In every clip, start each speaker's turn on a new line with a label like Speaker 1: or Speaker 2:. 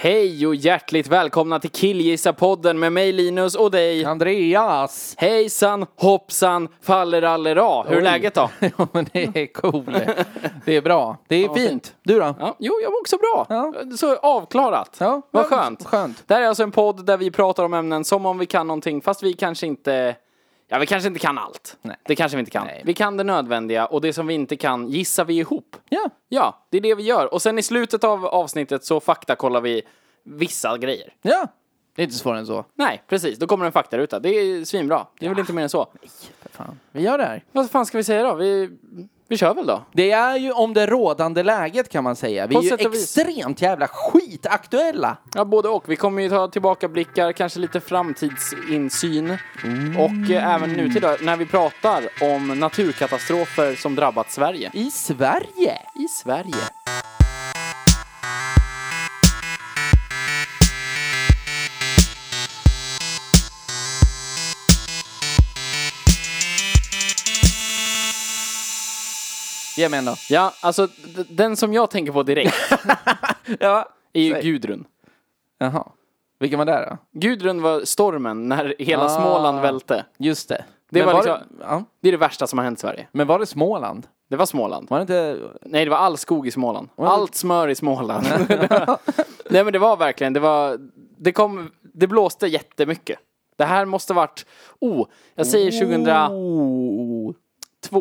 Speaker 1: Hej och hjärtligt välkomna till Killgissa-podden med mig Linus och dig.
Speaker 2: Andreas!
Speaker 1: Hejsan, hoppsan, fallerallera. Hur är
Speaker 2: Oj.
Speaker 1: läget då?
Speaker 2: ja men det är cool. Det är bra. Det är
Speaker 1: fint.
Speaker 2: fint. Du då?
Speaker 1: Ja, jo, jag mår också bra.
Speaker 2: Ja.
Speaker 1: Så avklarat.
Speaker 2: Ja,
Speaker 1: Vad
Speaker 2: men-
Speaker 1: skönt.
Speaker 2: skönt.
Speaker 1: Det här är alltså en podd där vi pratar om ämnen som om vi kan någonting, fast vi kanske inte... Ja, vi kanske inte kan allt.
Speaker 2: Nej.
Speaker 1: Det kanske vi inte kan.
Speaker 2: Nej.
Speaker 1: Vi kan det nödvändiga och det som vi inte kan gissar vi ihop.
Speaker 2: Ja.
Speaker 1: Ja, det är det vi gör. Och sen i slutet av avsnittet så faktakollar vi vissa grejer.
Speaker 2: Ja. Det är inte svårare än så.
Speaker 1: Nej, precis. Då kommer en faktaruta. Det är svinbra. Det är väl inte mer än så.
Speaker 2: Fan. Vi gör det här.
Speaker 1: Vad fan ska vi säga då? Vi, vi kör väl då?
Speaker 2: Det är ju om det rådande läget kan man säga. Vi
Speaker 1: På
Speaker 2: är ju
Speaker 1: sätt och vis.
Speaker 2: extremt jävla skitaktuella.
Speaker 1: Ja, både och. Vi kommer ju ta tillbaka blickar, kanske lite framtidsinsyn
Speaker 2: Mm.
Speaker 1: och eh, även nutid då, när vi pratar om naturkatastrofer som drabbat Sverige.
Speaker 2: I Sverige.
Speaker 1: I Sverige.
Speaker 2: Ge mig en då.
Speaker 1: Ja, alltså d- den som jag tänker på direkt
Speaker 2: Ja.
Speaker 1: är ju
Speaker 2: Säg.
Speaker 1: Gudrun.
Speaker 2: Jaha. Vilken var det då?
Speaker 1: Gudrun var stormen när hela
Speaker 2: Ah.
Speaker 1: Småland välte.
Speaker 2: Just det.
Speaker 1: Det
Speaker 2: Men
Speaker 1: var
Speaker 2: det,
Speaker 1: liksom-
Speaker 2: ja.
Speaker 1: Det är det värsta som har hänt Sverige.
Speaker 2: Men var det Småland?
Speaker 1: Det var Småland.
Speaker 2: Var det inte...
Speaker 1: Nej, det var all skog i Småland. Allt smör i Småland. Nej, men det var verkligen, det var, det kom, det blåste jättemycket. Det här måste varit, oh, jag säger 2002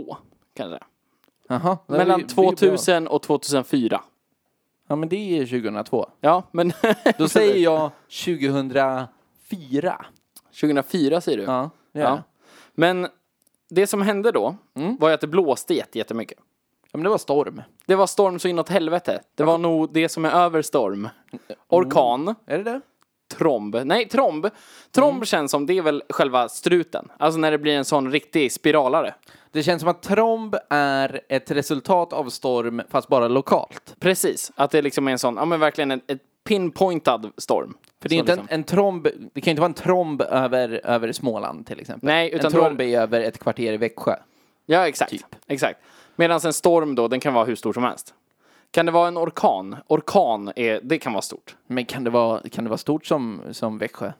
Speaker 2: Oh.
Speaker 1: kanske.
Speaker 2: Jaha. Det är ju-
Speaker 1: Mellan
Speaker 2: det är ju bra.
Speaker 1: 2000 och 2004.
Speaker 2: Ja men det är 2002.
Speaker 1: Ja, men
Speaker 2: Då säger jag 2004.
Speaker 1: 2004 säger du.
Speaker 2: Ja, det Mm. gör jag.
Speaker 1: Ja. Men det som hände då var ju att det blåste jätte- jättemycket.
Speaker 2: ja men det var storm.
Speaker 1: Det var storm så inåt helvete. Det var nog det som är över storm. Orkan.
Speaker 2: Är det det?
Speaker 1: tromb. Nej, tromb. Tromb känns som, det är väl själva struten. Alltså när det blir en sån riktig spiralare.
Speaker 2: Det känns som att tromb är ett resultat av storm fast bara lokalt.
Speaker 1: Precis, att det liksom är en sån, ja men verkligen en, ett pinpointad storm. liksom-
Speaker 2: För det är inte en, en tromb, det kan ju inte vara en tromb över, över Småland till exempel.
Speaker 1: Nej, utan
Speaker 2: en
Speaker 1: då-
Speaker 2: tromb är över ett kvarter i Växjö.
Speaker 1: Ja, exakt. exakt. Medan en storm då, den kan vara hur stor som helst. Kan det vara en orkan? Orkan, är, det kan vara stort.
Speaker 2: Men kan det vara, kan det vara stort som, som Växjö?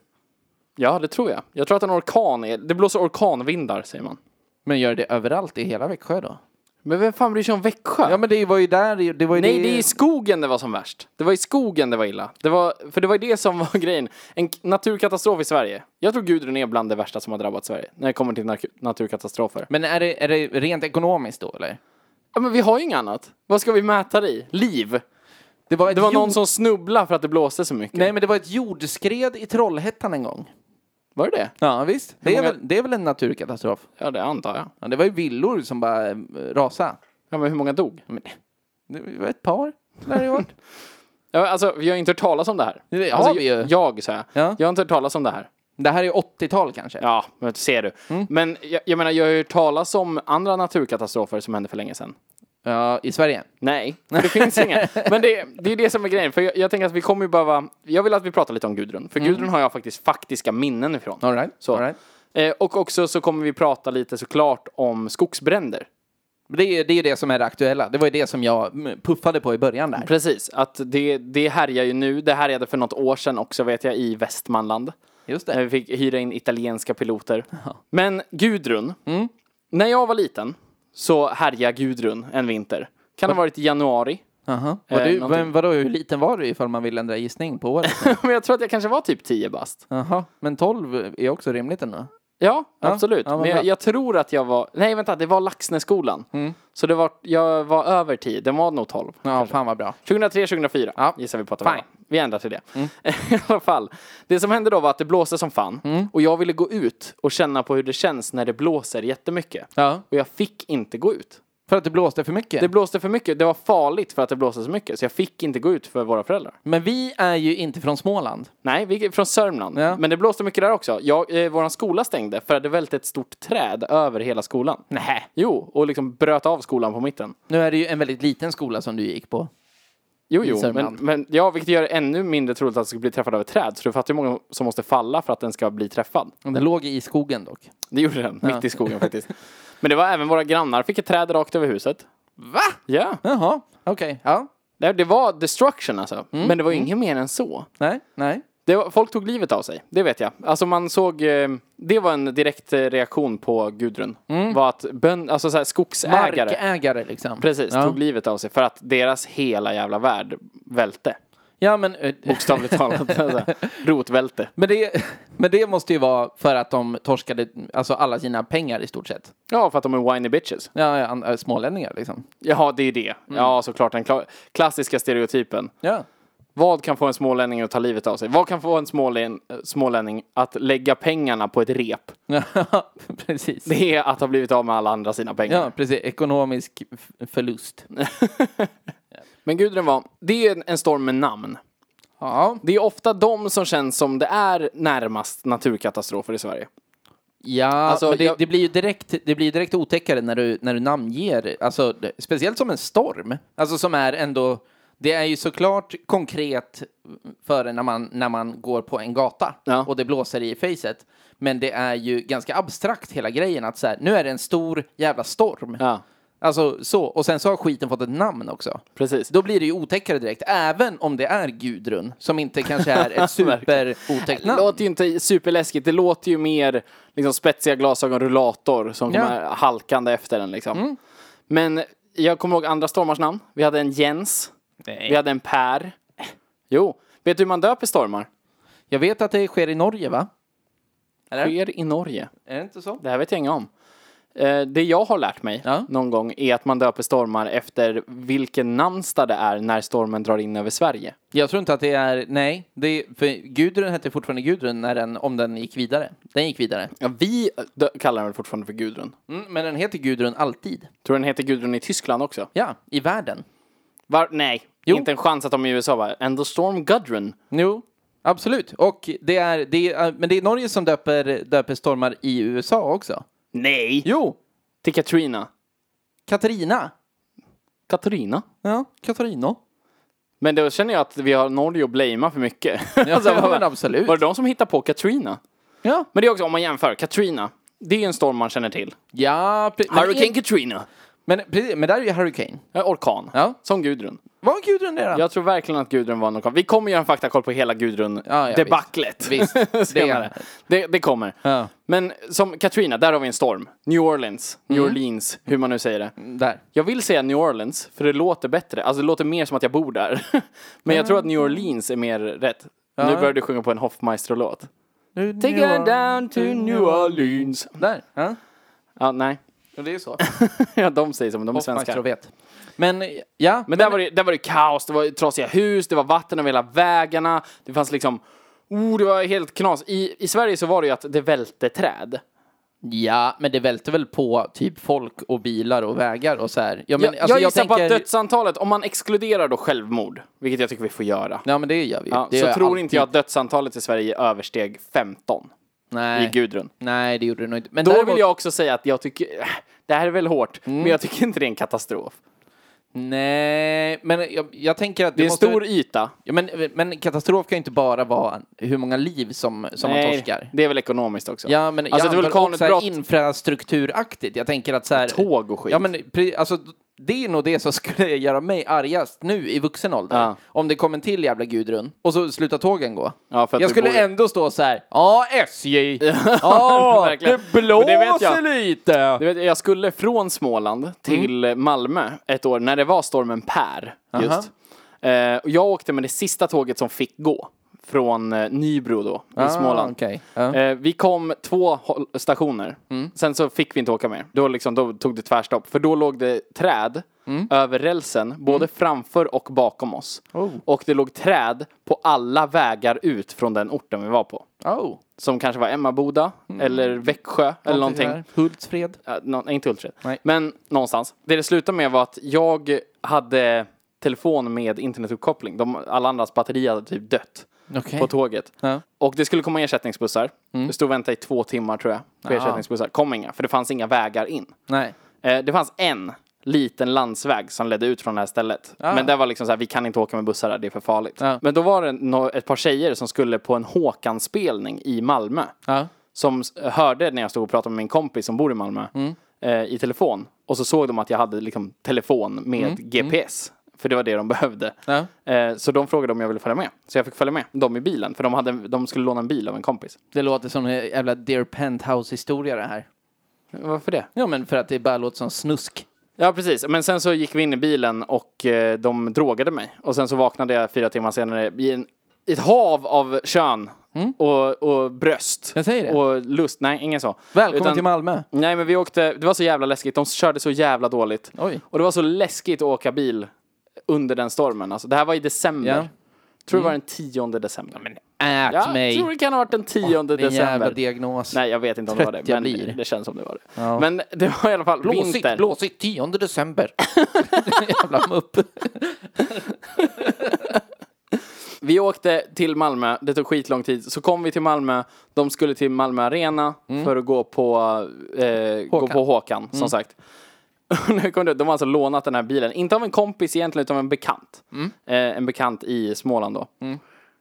Speaker 1: Ja, det tror jag. Jag tror att en orkan är, det blåser orkanvindar säger man.
Speaker 2: Men gör det överallt i hela Växjö då?
Speaker 1: Men vem fan bryr sig om Växjö?
Speaker 2: Ja men det var ju där, det var ju
Speaker 1: Nej,
Speaker 2: det...
Speaker 1: det är i skogen det var som värst. Det var i skogen det var illa. Det var, för det var ju det som var grejen. En k- naturkatastrof i Sverige. Jag tror Gudrun är bland det värsta som har drabbat Sverige när det kommer till nark- naturkatastrofer.
Speaker 2: Men är det, är det rent ekonomiskt då eller?
Speaker 1: Ja, men vi har ju inget annat. Vad ska vi mäta det i? Liv?
Speaker 2: Det var, ett
Speaker 1: Det var någon
Speaker 2: jord-
Speaker 1: som snubblade för att det blåste så mycket.
Speaker 2: Nej men det var ett jordskred i Trollhättan en gång.
Speaker 1: Var det det?
Speaker 2: Ja visst, det är,
Speaker 1: många-
Speaker 2: väl, det är väl en naturkatastrof.
Speaker 1: Ja, det antar jag.
Speaker 2: Ja, det var ju villor som bara eh, rasade.
Speaker 1: Ja, men hur många dog?
Speaker 2: Men, det var ett par. Det har det varit.
Speaker 1: Ja, alltså, vi har ju inte hört talas om det här.
Speaker 2: Det har
Speaker 1: alltså,
Speaker 2: vi ju.
Speaker 1: Jag, så här.
Speaker 2: Ja.
Speaker 1: Jag har inte hört talas om det här.
Speaker 2: det här är 80-tal kanske.
Speaker 1: Ja, men ser du.
Speaker 2: Mm.
Speaker 1: Men jag, jag menar, jag har ju hört talas om andra naturkatastrofer som hände för länge sedan.
Speaker 2: Ja, I Sverige.
Speaker 1: Nej, för det finns inga. Men det, det är det som är grejen. För jag, jag tänker att vi kommer ju behöva... Jag vill att vi pratar lite om Gudrun. För Gudrun har jag faktiskt faktiska minnen ifrån.
Speaker 2: All right.
Speaker 1: Så.
Speaker 2: All right.
Speaker 1: Eh, och också så kommer vi prata lite såklart om skogsbränder.
Speaker 2: Det är ju det, är ju det som är det aktuella. Det var ju det som jag mm, puffade på i början där.
Speaker 1: Precis, att det, det härjar ju nu. Det härjade för något år sedan också vet jag i Västmanland.
Speaker 2: Just
Speaker 1: När vi fick hyra in italienska piloter. Men Gudrun. När jag var liten så härjade Gudrun en vinter. Kan ha varit i januari.
Speaker 2: Aha. Var du,
Speaker 1: någonting.
Speaker 2: men vadå, hur liten var du ifall man vill ändra gissning på året?
Speaker 1: Men jag tror att jag kanske var typ 10 bast.
Speaker 2: Aha. Men 12 är också rimligt ändå.
Speaker 1: Ja, absolut.
Speaker 2: ja, vad
Speaker 1: men
Speaker 2: bra. Mm.
Speaker 1: jag, jag tror att jag var, nej vänta, det var Laxneskolan. Så det var, jag var över 10, den var nog 12.
Speaker 2: Ja, fan vad bra.
Speaker 1: 2003, 2004
Speaker 2: Ja.
Speaker 1: gissar vi på att det
Speaker 2: Fine. Mm.
Speaker 1: var. Vi ändrar till det. I alla fall, det som hände då var att det blåste som fan.
Speaker 2: Mm.
Speaker 1: Och jag ville gå ut och känna på hur det känns när det blåser jättemycket.
Speaker 2: Ja.
Speaker 1: Och jag fick inte gå ut.
Speaker 2: För att det blåste för mycket?
Speaker 1: Det blåste för mycket. Det var farligt för att det blåste så mycket. Så jag fick inte gå ut för våra föräldrar.
Speaker 2: Men vi är ju inte från Småland.
Speaker 1: Nej, vi är från Sörmland.
Speaker 2: Ja.
Speaker 1: Men det blåste mycket där också. Jag, eh, våran skola stängde för att det välte ett stort träd över hela skolan.
Speaker 2: Nej.
Speaker 1: Jo, och liksom bröt av skolan på mitten.
Speaker 2: Nu är det ju en väldigt liten skola som du gick på.
Speaker 1: Jo,
Speaker 2: I
Speaker 1: jo, men,
Speaker 2: Sörmland.
Speaker 1: men ja, vilket gör det ännu mindre troligt att du ska bli träffad av ett träd. Så du fattar hur många som måste falla för att den ska bli träffad.
Speaker 2: Den låg i skogen dock.
Speaker 1: Det gjorde den,
Speaker 2: Ja.
Speaker 1: mitt i skogen faktiskt. Men det var även våra grannar fick ett träd rakt över huset.
Speaker 2: Va?
Speaker 1: Ja,
Speaker 2: Jaha, okej. Ja.
Speaker 1: det, det var destruction alltså.
Speaker 2: Mm.
Speaker 1: Men det var ju inget mer än så.
Speaker 2: Nej, nej.
Speaker 1: Det var, folk tog livet av sig, det vet jag. Alltså man såg, eh, det var en direkt eh, reaktion på Gudrun.
Speaker 2: Mm.
Speaker 1: Var att bön, alltså så här, skogsägare,
Speaker 2: Markägare liksom.
Speaker 1: precis,
Speaker 2: Ja,
Speaker 1: tog livet av sig för att deras hela jävla värld välte.
Speaker 2: ja men, eh,
Speaker 1: Bokstavligt talat. Alltså, rotvälte.
Speaker 2: men, det, men det måste ju vara för att de torskade alltså, alla sina pengar i stort sett.
Speaker 1: Ja, för att de är whiny bitches.
Speaker 2: Ja, ja, an- äh, smålänningar liksom.
Speaker 1: Jaha, det är ju det.
Speaker 2: Mm.
Speaker 1: Ja, såklart. Den kla- klassiska stereotypen.
Speaker 2: Ja.
Speaker 1: Vad kan få en smålänning att ta livet av sig? Vad kan få en smålän- eh, smålänning att lägga pengarna på ett rep?
Speaker 2: precis.
Speaker 1: Det är att ha blivit av med alla andra sina pengar.
Speaker 2: Ja, precis. Ekonomisk f- förlust.
Speaker 1: Men Gudrun var, det är en- en storm med namn.
Speaker 2: Ja,
Speaker 1: Det är ofta de som känns som det är närmast naturkatastrofer i Sverige.
Speaker 2: ja
Speaker 1: Alltså,
Speaker 2: men det,
Speaker 1: jag-
Speaker 2: det blir ju direkt, det blir ju direkt otäckare när du, när du namnger, alltså, det- speciellt som en storm. Alltså som är ändå, det är ju såklart konkret för när man, när man går på en gata
Speaker 1: Ja.
Speaker 2: och det blåser i facet. Men det är ju ganska abstrakt hela grejen att så här, nu är det en stor jävla storm.
Speaker 1: Ja,
Speaker 2: Alltså så, och sen så har skiten fått ett namn också.
Speaker 1: precis.
Speaker 2: Då blir det ju otäckare direkt, även om det är Gudrun, som inte kanske är ett superotäckt
Speaker 1: Det
Speaker 2: namn.
Speaker 1: låter ju inte superläskigt. Det låter ju mer liksom, spetsiga glasögon rullator som
Speaker 2: Ja.
Speaker 1: kommer halkande efter den. Liksom. Men jag kommer ihåg andra stormars namn. Vi hade en Jens. Vi hade en Per. Jo, vet du hur man döper stormar?
Speaker 2: Jag vet att det sker i Norge, va?
Speaker 1: Sker i Norge.
Speaker 2: Är det inte så?
Speaker 1: Det här vet jag inget om. Eh, Det jag har lärt mig
Speaker 2: Ja.
Speaker 1: någon gång är att man döper stormar efter vilken namnsdag det är när stormen drar in över Sverige.
Speaker 2: Jag tror inte att det är, nej. Det är, för Gudrun hette fortfarande Gudrun när den, om den gick vidare. Den gick vidare.
Speaker 1: Ja, vi dö- kallar den väl fortfarande för Gudrun.
Speaker 2: Mm, men den heter Gudrun alltid.
Speaker 1: Tror du den heter Gudrun i Tyskland också?
Speaker 2: Ja, i världen.
Speaker 1: Var- nej,
Speaker 2: Jo.
Speaker 1: inte en chans att de i USA bara And the storm Gudrun.
Speaker 2: Jo, absolut. Och det är, det är, äh, men det är Norge som döper, döper stormar i USA också.
Speaker 1: Nej!
Speaker 2: Jo,
Speaker 1: Till Katrina.
Speaker 2: Katarina.
Speaker 1: Katarina?
Speaker 2: Ja, Katarina.
Speaker 1: Men då känner jag att vi har Norge att blamea för mycket. Alltså,
Speaker 2: Ja,
Speaker 1: vad-
Speaker 2: ja, men absolut.
Speaker 1: Var det de som hittade på Katrina?
Speaker 2: Ja,
Speaker 1: Men det är också, om man jämför, Katrina. Det är en storm man känner till.
Speaker 2: ja pre- men-
Speaker 1: Hurricane Katrina.
Speaker 2: Men, precis, men där är ju Hurricane.
Speaker 1: Ja, Orkan.
Speaker 2: Ja.
Speaker 1: Som Gudrun.
Speaker 2: Var Gudrun det då?
Speaker 1: Jag tror verkligen att Gudrun var en orkan. Vi kommer göra en faktakoll på hela
Speaker 2: Ja, ja,
Speaker 1: Gudrun-debaclet.
Speaker 2: Visst, det
Speaker 1: senare. Det, det kommer.
Speaker 2: Ja.
Speaker 1: Men som Katrina, där har vi en storm. New Orleans, New Orleans, hur man nu säger det.
Speaker 2: Där.
Speaker 1: Jag vill säga New Orleans, för det låter bättre. Alltså det låter mer som att jag bor där. Men jag tror att New Orleans är mer rätt. Nu börjar du sjunga på en Hoffmeister-låt. Take her down to New Orleans.
Speaker 2: Mm. Där. Ja.
Speaker 1: Ja, nej.
Speaker 2: Och det är så.
Speaker 1: Ja, de säger som de är svenskar.
Speaker 2: Hoffmeister vet. Men ja,
Speaker 1: Men där var, det, där var det kaos, det var trasiga hus, det var vatten över hela vägarna. Det fanns liksom, oh, det var helt knas. I, I Sverige så var det ju att det välte träd.
Speaker 2: ja, men det välter väl på typ folk och bilar och vägar och så här. Ja, men,
Speaker 1: Jag,
Speaker 2: alltså,
Speaker 1: jag gissar på
Speaker 2: tänker-
Speaker 1: att dödsantalet, om man exkluderar då självmord, vilket jag tycker vi får göra,
Speaker 2: Ja, men det gör vi ju.
Speaker 1: ja,
Speaker 2: det
Speaker 1: så
Speaker 2: gör
Speaker 1: tror
Speaker 2: alltid.
Speaker 1: inte jag att dödsantalet i Sverige översteg 15
Speaker 2: Nej.
Speaker 1: i Gudrun.
Speaker 2: Nej, det gjorde du nog inte. Men
Speaker 1: Då
Speaker 2: däremot... Mm.
Speaker 1: vill jag också säga att jag tycker, äh, det här är väl hårt, men jag tycker inte det är en katastrof.
Speaker 2: Nej, men jag, jag tänker att du
Speaker 1: Det är en
Speaker 2: måste...
Speaker 1: stor yta.
Speaker 2: Ja, men, men katastrof kan ju inte bara vara hur många liv som, som man torskar.
Speaker 1: det är väl ekonomiskt också.
Speaker 2: Ja, men
Speaker 1: alltså ett
Speaker 2: jag antar också så här
Speaker 1: vulkanutbrott,
Speaker 2: infrastrukturaktigt. Jag tänker att så här...
Speaker 1: tåg och skit.
Speaker 2: Ja, men pre- alltså, d- det är nog det som skulle göra mig argast nu i vuxen ålder.
Speaker 1: Ja.
Speaker 2: Om det kom en till jävla Gudrun och så slutar tågen gå.
Speaker 1: Ja, för att
Speaker 2: jag
Speaker 1: du
Speaker 2: skulle
Speaker 1: bor i-
Speaker 2: ändå stå så här, ja SJ, ja
Speaker 1: verkligen.
Speaker 2: det
Speaker 1: Men det vet jag.
Speaker 2: blåser lite.
Speaker 1: Du vet, jag skulle från
Speaker 2: Mm.
Speaker 1: Småland till Malmö ett år när det var stormen Per. Just. Eh, och jag åkte med det sista tåget som fick gå. från eh, Nybro då, i
Speaker 2: Ah,
Speaker 1: Småland.
Speaker 2: okej. Ja. Mm.
Speaker 1: Eh, vi kom två håll- stationer, sen så fick vi inte åka mer. Då, liksom, då tog det tvärstopp, för då låg det träd
Speaker 2: Mm.
Speaker 1: över rälsen, både framför och bakom oss.
Speaker 2: Oh.
Speaker 1: Och det låg träd på alla vägar ut från den orten vi var på.
Speaker 2: Oh,
Speaker 1: Som kanske var Emmaboda, eller Växjö, eller någonting.
Speaker 2: Mm. där. Hultsfred.
Speaker 1: Ja, nå- nej, inte Hultsfred.
Speaker 2: Nej.
Speaker 1: Men någonstans. Det det slutade med var att jag hade telefon med internetuppkoppling. De, alla andras batteri hade typ dött
Speaker 2: Okej.
Speaker 1: på tåget.
Speaker 2: Ja.
Speaker 1: Och det skulle komma ersättningsbussar.
Speaker 2: Mm.
Speaker 1: Det stod och väntade i två timmar tror jag. På ersättningsbussar. Kom inga, för det fanns inga vägar in.
Speaker 2: Nej.
Speaker 1: Eh, det fanns en liten landsväg som ledde ut från det här stället. Men det var liksom så här, vi kan inte åka med bussar där, det är för farligt.
Speaker 2: Ah. Ja.
Speaker 1: Men då var det no- ett par tjejer som skulle på en Håkan-spelning i Malmö
Speaker 2: Ja.
Speaker 1: som s- hörde när jag stod och pratade med min kompis som bor i Malmö
Speaker 2: Mm.
Speaker 1: eh, i telefon. Och så såg de att jag hade liksom, telefon med GPS. För det var det de behövde.
Speaker 2: Mm. Ja.
Speaker 1: Eh, så de frågade om jag ville följa med. Så jag fick följa med dem i bilen. För de, hade, de skulle låna en bil av en kompis.
Speaker 2: Det låter som en jävla Dear Penthouse-historia det här.
Speaker 1: Varför det?
Speaker 2: Ja, men för att det bara låter som snusk.
Speaker 1: Ja, precis. Men sen så gick vi in i bilen och eh, de drogade mig. Och sen så vaknade jag fyra timmar senare i en, i ett hav av kön och, och bröst.
Speaker 2: Mm. Jag säger det.
Speaker 1: Och lust. Nej, ingen så.
Speaker 2: Välkommen
Speaker 1: Utan-
Speaker 2: till Malmö.
Speaker 1: Nej men vi åkte, det var så jävla läskigt, de körde så jävla dåligt.
Speaker 2: Oj.
Speaker 1: Och det var så läskigt att åka bil under den stormen. Alltså, det här var i december.
Speaker 2: Ja. Mm.
Speaker 1: Tror det var den 10 december.
Speaker 2: Ät
Speaker 1: Ja,
Speaker 2: mig.
Speaker 1: tror det kan ha varit den 10
Speaker 2: Din jävla
Speaker 1: december.
Speaker 2: diagnos.
Speaker 1: Nej jag vet inte om det var det,
Speaker 2: Trött jag
Speaker 1: men
Speaker 2: blir.
Speaker 1: det känns som det var det.
Speaker 2: Ja.
Speaker 1: Men det var i alla fall vinter.
Speaker 2: Blåsigt, blåsigt, 10 december. jävla mupp.
Speaker 1: Vi åkte till Malmö, det tog skitlång tid. Så kom vi till Malmö, de skulle till Malmö Arena
Speaker 2: Mm.
Speaker 1: för att gå på, eh, gå på Håkan, som sagt. Och när vi kom dit, de har alltså lånat den här bilen, inte av en kompis egentligen, utan av en bekant.
Speaker 2: Mm.
Speaker 1: Eh, en bekant i Småland då.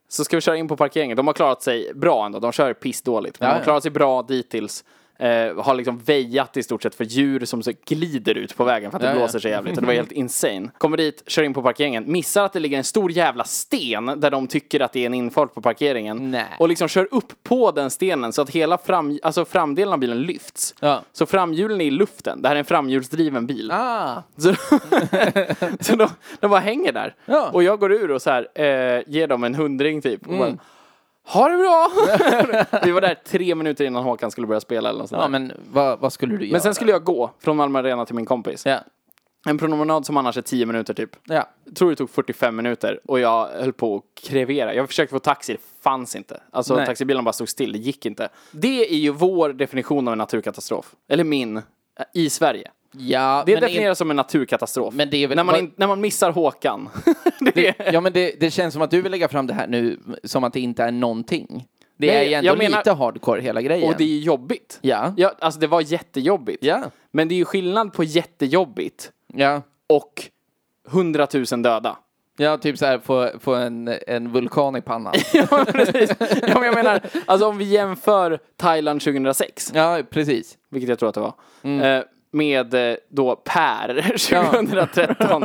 Speaker 1: Så ska vi köra in på parkeringen. De har klarat sig bra ändå, de kör pissdåligt. Men de har
Speaker 2: ja.
Speaker 1: klarat sig bra dittills. Eh, har liksom väjat i stort sett för djur som så glider ut på vägen för att
Speaker 2: Ja,
Speaker 1: det
Speaker 2: ja.
Speaker 1: blåser så jävligt. Det var helt insane. Kommer dit, kör in på parkeringen, missar att det ligger en stor jävla sten där de tycker att det är en infart på parkeringen.
Speaker 2: Nej.
Speaker 1: Och liksom kör upp på den stenen så att hela fram, alltså framdelen av bilen lyfts.
Speaker 2: Ja.
Speaker 1: Så framhjulen är i luften. Det här är en framhjulsdriven bil.
Speaker 2: Ah,
Speaker 1: Så, så de, de bara hänger där.
Speaker 2: Ja.
Speaker 1: Och jag går ur och så här, eh, ger dem en hundring typ. Och
Speaker 2: Mm.
Speaker 1: bara, ha det bra! Vi var där tre minuter innan Håkan skulle börja spela eller något sånt
Speaker 2: ja,
Speaker 1: där.
Speaker 2: men vad, vad skulle du göra?
Speaker 1: Men sen skulle jag gå från Malmö Arena till min kompis.
Speaker 2: Ja.
Speaker 1: En promenad som annars är 10 minuter typ.
Speaker 2: Ja.
Speaker 1: Jag tror det tog 45 minuter och jag höll på att krevera. Jag försökte få taxi, det fanns inte. Alltså
Speaker 2: Nej.
Speaker 1: taxibilen bara stod still, det gick inte. Det är ju vår definition av en naturkatastrof. Eller min, eh, i Sverige.
Speaker 2: ja,
Speaker 1: Det
Speaker 2: men in-
Speaker 1: definieras som en naturkatastrof.
Speaker 2: Men det är väl-
Speaker 1: när, man
Speaker 2: vad-
Speaker 1: in, när man missar Håkan. det är...
Speaker 2: Ja, men det, det känns som att du vill lägga fram det här nu som att det inte är någonting. Det
Speaker 1: Nej,
Speaker 2: är ju ändå
Speaker 1: jag menar-
Speaker 2: lite hardcore hela grejen.
Speaker 1: Och det är ju jobbigt.
Speaker 2: Ja.
Speaker 1: ja. Alltså det var jättejobbigt.
Speaker 2: Ja.
Speaker 1: Men det är ju skillnad på jättejobbigt
Speaker 2: Ja.
Speaker 1: och 100 000 döda.
Speaker 2: ja, typ så här få, få en, en vulkan i pannan.
Speaker 1: ja, precis. Ja, men jag menar, alltså om vi jämför Thailand 2006,
Speaker 2: ja, Mm. precis.
Speaker 1: vilket jag tror att det var, eh, med eh, då Per 2013.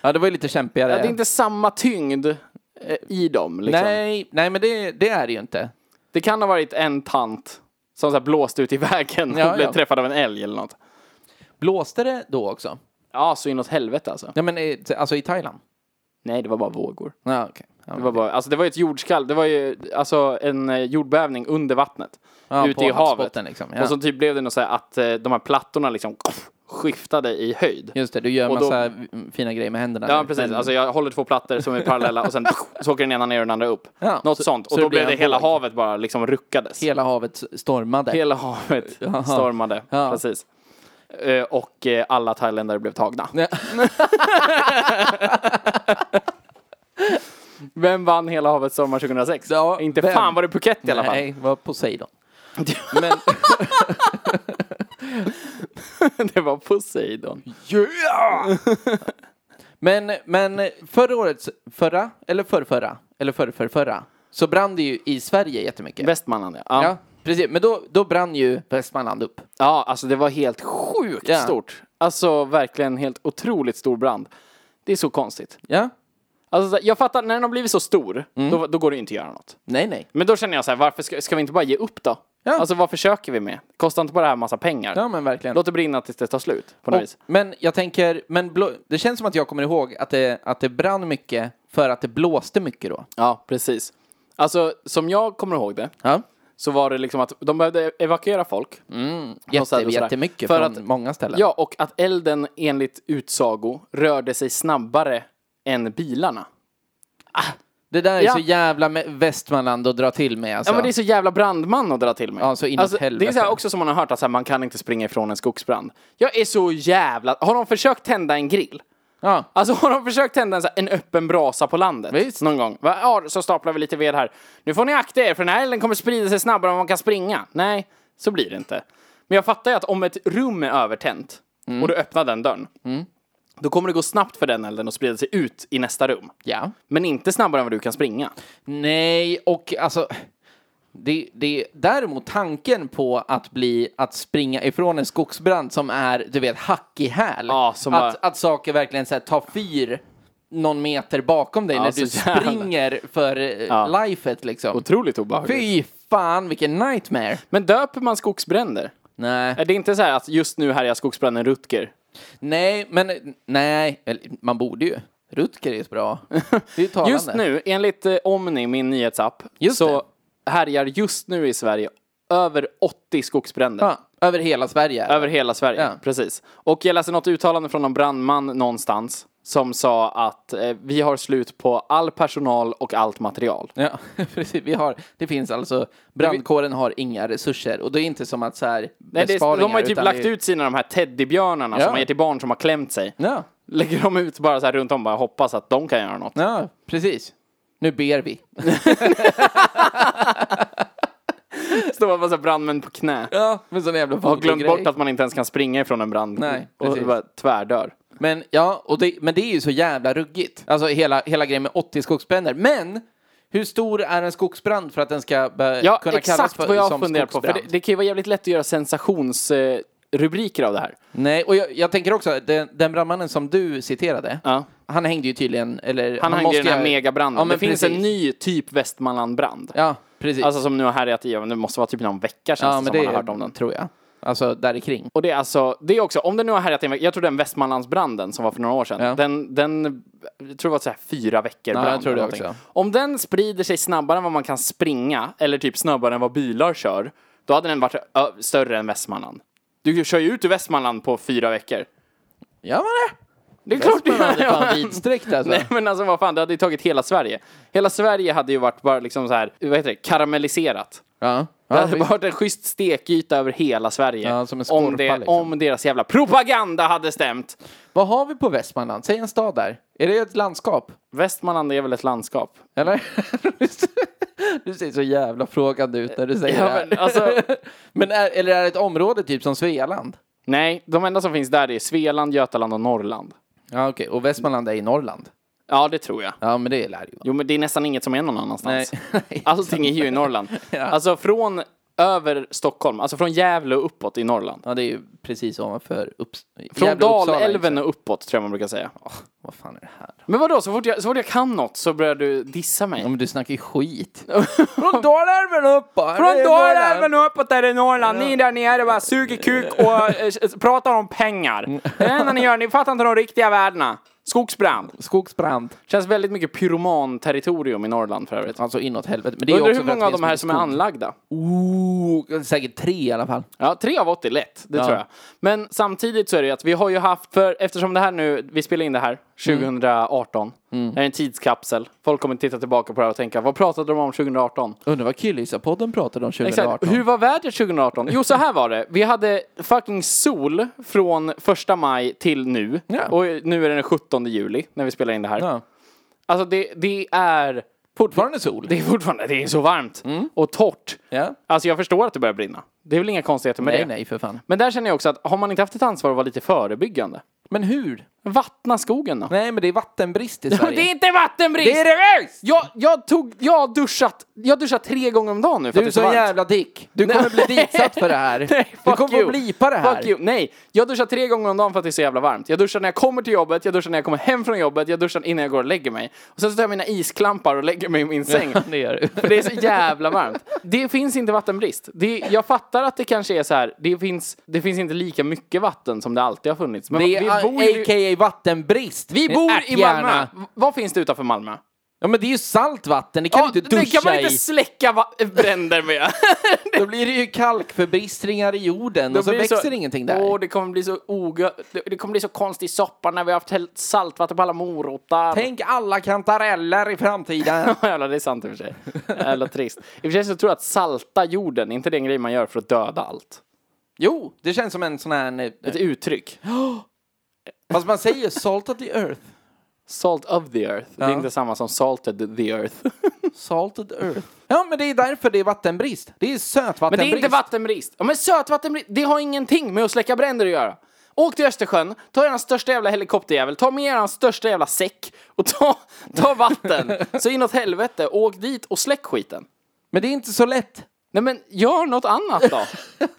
Speaker 2: Ja, det var ju lite kämpigare.
Speaker 1: Det är inte samma tyngd eh, i dem. Liksom.
Speaker 2: Nej, nej, men det, det är det ju inte.
Speaker 1: Det kan ha varit en tant som så här blåste ut i vägen
Speaker 2: Ja,
Speaker 1: och blev
Speaker 2: ja.
Speaker 1: träffad av en älg eller något.
Speaker 2: Blåste det då också?
Speaker 1: Ja, så inåt helvete alltså.
Speaker 2: Ja, men eh, alltså i Thailand?
Speaker 1: Nej, det var bara vågor.
Speaker 2: Ja, okej. Ja,
Speaker 1: Det var, bara, alltså, det var ju ett jordskall, det var ju alltså, en eh, jordbävning under vattnet.
Speaker 2: Ja,
Speaker 1: ute
Speaker 2: på
Speaker 1: i havet.
Speaker 2: havsbotten liksom, ja.
Speaker 1: Och så typ blev det något så här att eh, de här plattorna liksom skiftade i höjd.
Speaker 2: Just det, du gör
Speaker 1: Och då-
Speaker 2: massa fina grejer med händerna.
Speaker 1: Ja,
Speaker 2: nu,
Speaker 1: precis.
Speaker 2: men-
Speaker 1: Alltså jag håller två plattor som är parallella och sen så åker den ena ner och den andra upp.
Speaker 2: Ja,
Speaker 1: Något
Speaker 2: så-
Speaker 1: sånt.
Speaker 2: så
Speaker 1: Och
Speaker 2: det
Speaker 1: då
Speaker 2: blir
Speaker 1: blev det
Speaker 2: en
Speaker 1: hela
Speaker 2: våg.
Speaker 1: havet bara liksom ruckades.
Speaker 2: Hela havet stormade.
Speaker 1: Hela havet stormade.
Speaker 2: Ja.
Speaker 1: Precis. Eh, Och eh, alla thailändare blev tagna.
Speaker 2: Nej.
Speaker 1: Vem vann Hela havet stormar 2006?
Speaker 2: Ja,
Speaker 1: Inte
Speaker 2: vem?
Speaker 1: fan var det Phuket i alla fall.
Speaker 2: Nej, det var Poseidon.
Speaker 1: Men... det var Poseidon.
Speaker 2: Men, men förra årets, förra, eller förrförra, eller förrförrförra, så brann det ju i Sverige jättemycket.
Speaker 1: Västmanland ja. Ja,
Speaker 2: Ja, precis. Men då, då brann ju Västmanland upp.
Speaker 1: ja alltså det var helt sjukt
Speaker 2: Ja.
Speaker 1: stort. Alltså verkligen helt otroligt stor brand. Det är så konstigt.
Speaker 2: Ja?
Speaker 1: Alltså, så här, jag fattar, när den har blivit så stor,
Speaker 2: Mm.
Speaker 1: då, då går det ju inte att göra något.
Speaker 2: Nej, nej.
Speaker 1: Men då känner jag så här, varför ska, ska vi inte bara ge upp då?
Speaker 2: Ja.
Speaker 1: Alltså vad försöker vi med? Kostar inte bara det här massa pengar?
Speaker 2: Ja, men verkligen.
Speaker 1: Låt det brinna tills det tar slut på något vis.
Speaker 2: Och- men jag tänker, men blå, det känns som att jag kommer ihåg att det, att det brann mycket för att det blåste mycket då.
Speaker 1: Ja, precis. Alltså, som jag kommer ihåg det,
Speaker 2: Ja.
Speaker 1: så var det liksom att de behövde evakuera folk.
Speaker 2: Mm.
Speaker 1: Och så här,
Speaker 2: Jätte,
Speaker 1: och så där.
Speaker 2: jättemycket
Speaker 1: För
Speaker 2: från
Speaker 1: att-
Speaker 2: många ställen.
Speaker 1: Ja, och att elden enligt utsago rörde sig snabbare än bilarna.
Speaker 2: Det där är
Speaker 1: Ja.
Speaker 2: så jävla med Västmanland att dra till med. Alltså.
Speaker 1: Ja, men det är så jävla brandman att dra till med. Alltså,
Speaker 2: Ja, så inåt helvete.
Speaker 1: det är så här också som man har hört att så här, man kan inte springa ifrån en skogsbrand. Jag är så jävla... Har de försökt tända en grill?
Speaker 2: Ja.
Speaker 1: Alltså har de försökt tända en, så här, en öppen brasa på landet?
Speaker 2: Visst.
Speaker 1: Någon gång? Va? Ja, så staplar vi lite ved här. Nu får ni akta er för den här elden kommer sprida sig snabbare än man kan springa. Nej, så blir det inte. Men jag fattar ju att om ett rum är övertänt och du öppnar den dörren. Då kommer det gå snabbt för den elden att sprida sig ut i nästa rum.
Speaker 2: ja.
Speaker 1: Men inte snabbare än vad du kan springa.
Speaker 2: Nej, och alltså... Det, det, däremot tanken på att bli att springa ifrån en skogsbrand som är, du vet, hack i häl.
Speaker 1: Ja, som
Speaker 2: att,
Speaker 1: bara-
Speaker 2: att saker verkligen så här, tar fyr någon meter bakom dig när
Speaker 1: så
Speaker 2: du
Speaker 1: jävla-
Speaker 2: springer för eh, lifet liksom.
Speaker 1: Otroligt obehagligt.
Speaker 2: Fy fan, vilken nightmare.
Speaker 1: Men döper man skogsbränder?
Speaker 2: Nej.
Speaker 1: Är det inte så här att just nu härjar skogsbranden Rutger?
Speaker 2: Nej, men nej, eller, man borde ju. Rutger är ju så bra. Det är ju talande.
Speaker 1: Just nu, enligt eh, Omni, min nyhetsapp,
Speaker 2: Just
Speaker 1: så härjar just nu i Sverige över 80 skogsbränder.
Speaker 2: Ja, över hela Sverige.
Speaker 1: Över hela Sverige,
Speaker 2: Ja.
Speaker 1: precis. Och jag läste något uttalande från någon brandman någonstans som sa att eh, vi har slut på all personal och allt material.
Speaker 2: Ja, precis. Vi har, det finns alltså, brandkåren har inga resurser och det är inte som att så här
Speaker 1: Nej, det,
Speaker 2: besparingar,
Speaker 1: de har ju typ
Speaker 2: utan
Speaker 1: lagt
Speaker 2: det är-
Speaker 1: ut sina de här teddybjörnarna
Speaker 2: Ja.
Speaker 1: som man ger till barn som har klämt sig.
Speaker 2: Ja,
Speaker 1: Lägger de ut bara så här runt om bara hoppas att de kan göra något.
Speaker 2: ja, precis. Nu ber vi.
Speaker 1: Står man bara så här brandmän på knä.
Speaker 2: Ja, men sån jävla
Speaker 1: Har glömt
Speaker 2: grej.
Speaker 1: bort att man inte ens kan springa ifrån en brand.
Speaker 2: Nej,
Speaker 1: och
Speaker 2: precis.
Speaker 1: bara tvärdör.
Speaker 2: Men ja, och det, men det är ju så jävla ruggigt. Alltså hela, hela grejen med 80 skogsbränder. Men hur stor är en skogsbrand för att den ska be-
Speaker 1: Ja,
Speaker 2: kunna kallas
Speaker 1: exakt
Speaker 2: för,
Speaker 1: vad jag
Speaker 2: som
Speaker 1: funderar på. För
Speaker 2: skogsbrand?
Speaker 1: det, det kan ju vara jävligt lätt att göra sensationsrubriker av det här.
Speaker 2: Nej, och jag, jag tänker också, att den, den brandmannen som du citerade,
Speaker 1: Ja.
Speaker 2: han hängde ju tydligen, eller...
Speaker 1: Han, hängde i den här
Speaker 2: ju-
Speaker 1: megabranden.
Speaker 2: Ja, men
Speaker 1: det finns en
Speaker 2: precis.
Speaker 1: ny typ Västmanlandbrand.
Speaker 2: Ja, precis.
Speaker 1: Alltså som nu har härjat i, ja, men det måste vara typ någon vecka känns
Speaker 2: ja,
Speaker 1: det
Speaker 2: men
Speaker 1: som
Speaker 2: det
Speaker 1: man har hört om den.
Speaker 2: tror jag. Alltså, där i kring.
Speaker 1: Och det är alltså, det är också, om det nu har härjat i en vecka, jag tror den Västmanlandsbranden som var för några år sedan,
Speaker 2: Ja.
Speaker 1: den, den, jag tror det var så här fyra veckor
Speaker 2: Ja,
Speaker 1: brand
Speaker 2: jag tror
Speaker 1: eller
Speaker 2: det
Speaker 1: någonting.
Speaker 2: också.
Speaker 1: Om den sprider sig snabbare än vad man kan springa, eller typ snabbare än vad bilar kör, då hade den varit ö, större än Västmanland. Du kör ju ut ur Västmanland på fyra veckor.
Speaker 2: Gör man det?
Speaker 1: Det är klart du
Speaker 2: Västmanland är
Speaker 1: gör.
Speaker 2: fan vidsträckt alltså.
Speaker 1: Nej men alltså vad fan, det hade ju tagit hela Sverige. Hela Sverige hade ju varit bara liksom så här, vad heter det, karamelliserat.
Speaker 2: Ja.
Speaker 1: Det
Speaker 2: Ja,
Speaker 1: hade
Speaker 2: visst.
Speaker 1: varit en schysst stekyta över hela Sverige.
Speaker 2: Ja, som en skorpa,
Speaker 1: om, det,
Speaker 2: liksom.
Speaker 1: om deras jävla propaganda hade stämt.
Speaker 2: Vad har vi på Västmanland? Säg en stad där. Är det ett landskap?
Speaker 1: Västmanland är väl ett landskap?
Speaker 2: Eller? du ser så jävla frågande ut när du säger
Speaker 1: Ja,
Speaker 2: det här.
Speaker 1: men, alltså-
Speaker 2: men är, eller är det ett område typ som Svealand?
Speaker 1: Nej, de enda som finns där är Svealand, Götaland och Norrland.
Speaker 2: Ja, okej. Och Västmanland är i Norrland?
Speaker 1: Ja, det tror jag.
Speaker 2: Ja, men det lär ju vara.
Speaker 1: Jo, men det är nästan inget som är någon annanstans.
Speaker 2: Nej.
Speaker 1: Allting är ju i Norrland. Alltså från över Stockholm, alltså från Gävle och uppåt i Norrland.
Speaker 2: Ja, det är ju precis ovanför Upps...
Speaker 1: Från
Speaker 2: jävla Uppsala,
Speaker 1: Dalälven och uppåt tror jag man brukar säga.
Speaker 2: liksom. Vad fan är det här?
Speaker 1: Men vadå, så fort jag, så fort jag kan något så börjar du dissa
Speaker 2: Ja,
Speaker 1: mig?
Speaker 2: men du snackar ju skit. Från Dalälven och uppåt!
Speaker 1: och uppåt är det Norrland, ni där nere bara suger kuk och eh, pratar om pengar.
Speaker 2: Mm.
Speaker 1: Det är det enda ni gör, ni fattar inte de riktiga värdena. Skogsbrand.
Speaker 2: Skogsbrand.
Speaker 1: Känns väldigt mycket pyromanterritorium i Norrland för övrigt.
Speaker 2: Alltså inåt helvete. Men det är Mm. också
Speaker 1: Undrar hur
Speaker 2: för att
Speaker 1: många av
Speaker 2: det
Speaker 1: de här som är
Speaker 2: skog.
Speaker 1: anlagda?
Speaker 2: Oh, säkert tre i alla fall.
Speaker 1: Ja, tre av 80 lätt, det tror jag. Men samtidigt så är det ju att vi har ju haft, för eftersom det här nu, vi spelar in det
Speaker 2: Mm.
Speaker 1: här 2018. Det är en tidskapsel. Folk kommer titta tillbaka på det här och tänka, vad pratade de om 2018?
Speaker 2: Undrar vad Killisa-podden pratade om 2018.
Speaker 1: Exakt. Hur var vädret 2018? Jo, så här var det. Vi hade fucking sol från första maj till nu.
Speaker 2: Ja.
Speaker 1: Och nu är det den 17 juli när vi spelar in det här.
Speaker 2: Ja.
Speaker 1: Alltså det, det är...
Speaker 2: Fortfarande sol.
Speaker 1: Det är fortfarande det är så varmt
Speaker 2: Mm.
Speaker 1: och torrt.
Speaker 2: Ja.
Speaker 1: Alltså jag förstår att det börjar brinna. Det är väl inga konstigheter med
Speaker 2: Nej,
Speaker 1: det.
Speaker 2: nej, för fan.
Speaker 1: Men där känner jag också att har man inte haft ett ansvar att vara lite förebyggande?
Speaker 2: Men hur?
Speaker 1: Vattna skogen då.
Speaker 2: Nej, men det är vattenbrist i Sverige.
Speaker 1: Det är inte vattenbrist!
Speaker 2: Det är det visst!
Speaker 1: jag, jag, tog, jag, har duschat, jag har duschat tre gånger om dagen nu för
Speaker 2: Du är
Speaker 1: att
Speaker 2: så
Speaker 1: det är så varmt.
Speaker 2: jävla dick. Du kommer bli ditsatt för det här.
Speaker 1: Nej,
Speaker 2: du
Speaker 1: fuck
Speaker 2: kommer
Speaker 1: you.
Speaker 2: få blipa det här.
Speaker 1: Fuck you. Nej, jag duschar tre gånger om dagen för att det är så jävla varmt. Jag duschar när jag kommer till jobbet, jag duschar när jag kommer hem från jobbet, jag duschar innan jag går och lägger mig. Och sen så tar jag mina isklampar och lägger mig i min säng.
Speaker 2: det gör du.
Speaker 1: För det är så jävla varmt. Det finns inte vattenbrist. Det, jag fattar att det kanske är så här, det finns, det finns inte lika mycket vatten som det alltid har funnits. Men
Speaker 2: Det är
Speaker 1: vi bor, ju-
Speaker 2: a.k.a. vattenbrist.
Speaker 1: vi
Speaker 2: Din
Speaker 1: bor i Malmö.
Speaker 2: ärthjärna.
Speaker 1: V- Vad finns det utanför Malmö?
Speaker 2: Ja men det är ju saltvatten, det kan du inte
Speaker 1: det
Speaker 2: duscha
Speaker 1: kan man inte
Speaker 2: i.
Speaker 1: släcka va- bränder med.
Speaker 2: Då blir det ju kalkförbristringar i jorden
Speaker 1: Då
Speaker 2: och så
Speaker 1: blir det
Speaker 2: växer ingenting där.
Speaker 1: Åh, det kommer bli så ogö... det- Det kommer bli så konstig soppa när vi har haft helt saltvatten på alla morötter.
Speaker 2: Tänk alla kantareller i framtiden.
Speaker 1: Ja, jävlar, det är sant i och för sig. Jävla trist. I och för sig så tror jag att salta jorden, inte det en grej man gör för att döda allt.
Speaker 2: jo, det känns som en sån här... eh,
Speaker 1: Ett uttryck.
Speaker 2: Fast man säger salt of the earth.
Speaker 1: Salt of the earth. Det är inte samma som salted the earth.
Speaker 2: Salted earth. Ja, men det är därför det är vattenbrist. Det är
Speaker 1: Men det är
Speaker 2: sötvattenbrist.
Speaker 1: inte vattenbrist. Ja, men sötvattenbrist, det har ingenting med att släcka bränder att göra. Åk till Östersjön, ta er största jävla helikopterjävel, ta med er största jävla säck och ta, ta vatten. så inåt helvete, åk dit och släck skiten.
Speaker 2: Men det är inte så lätt.
Speaker 1: Nej men gör något annat då.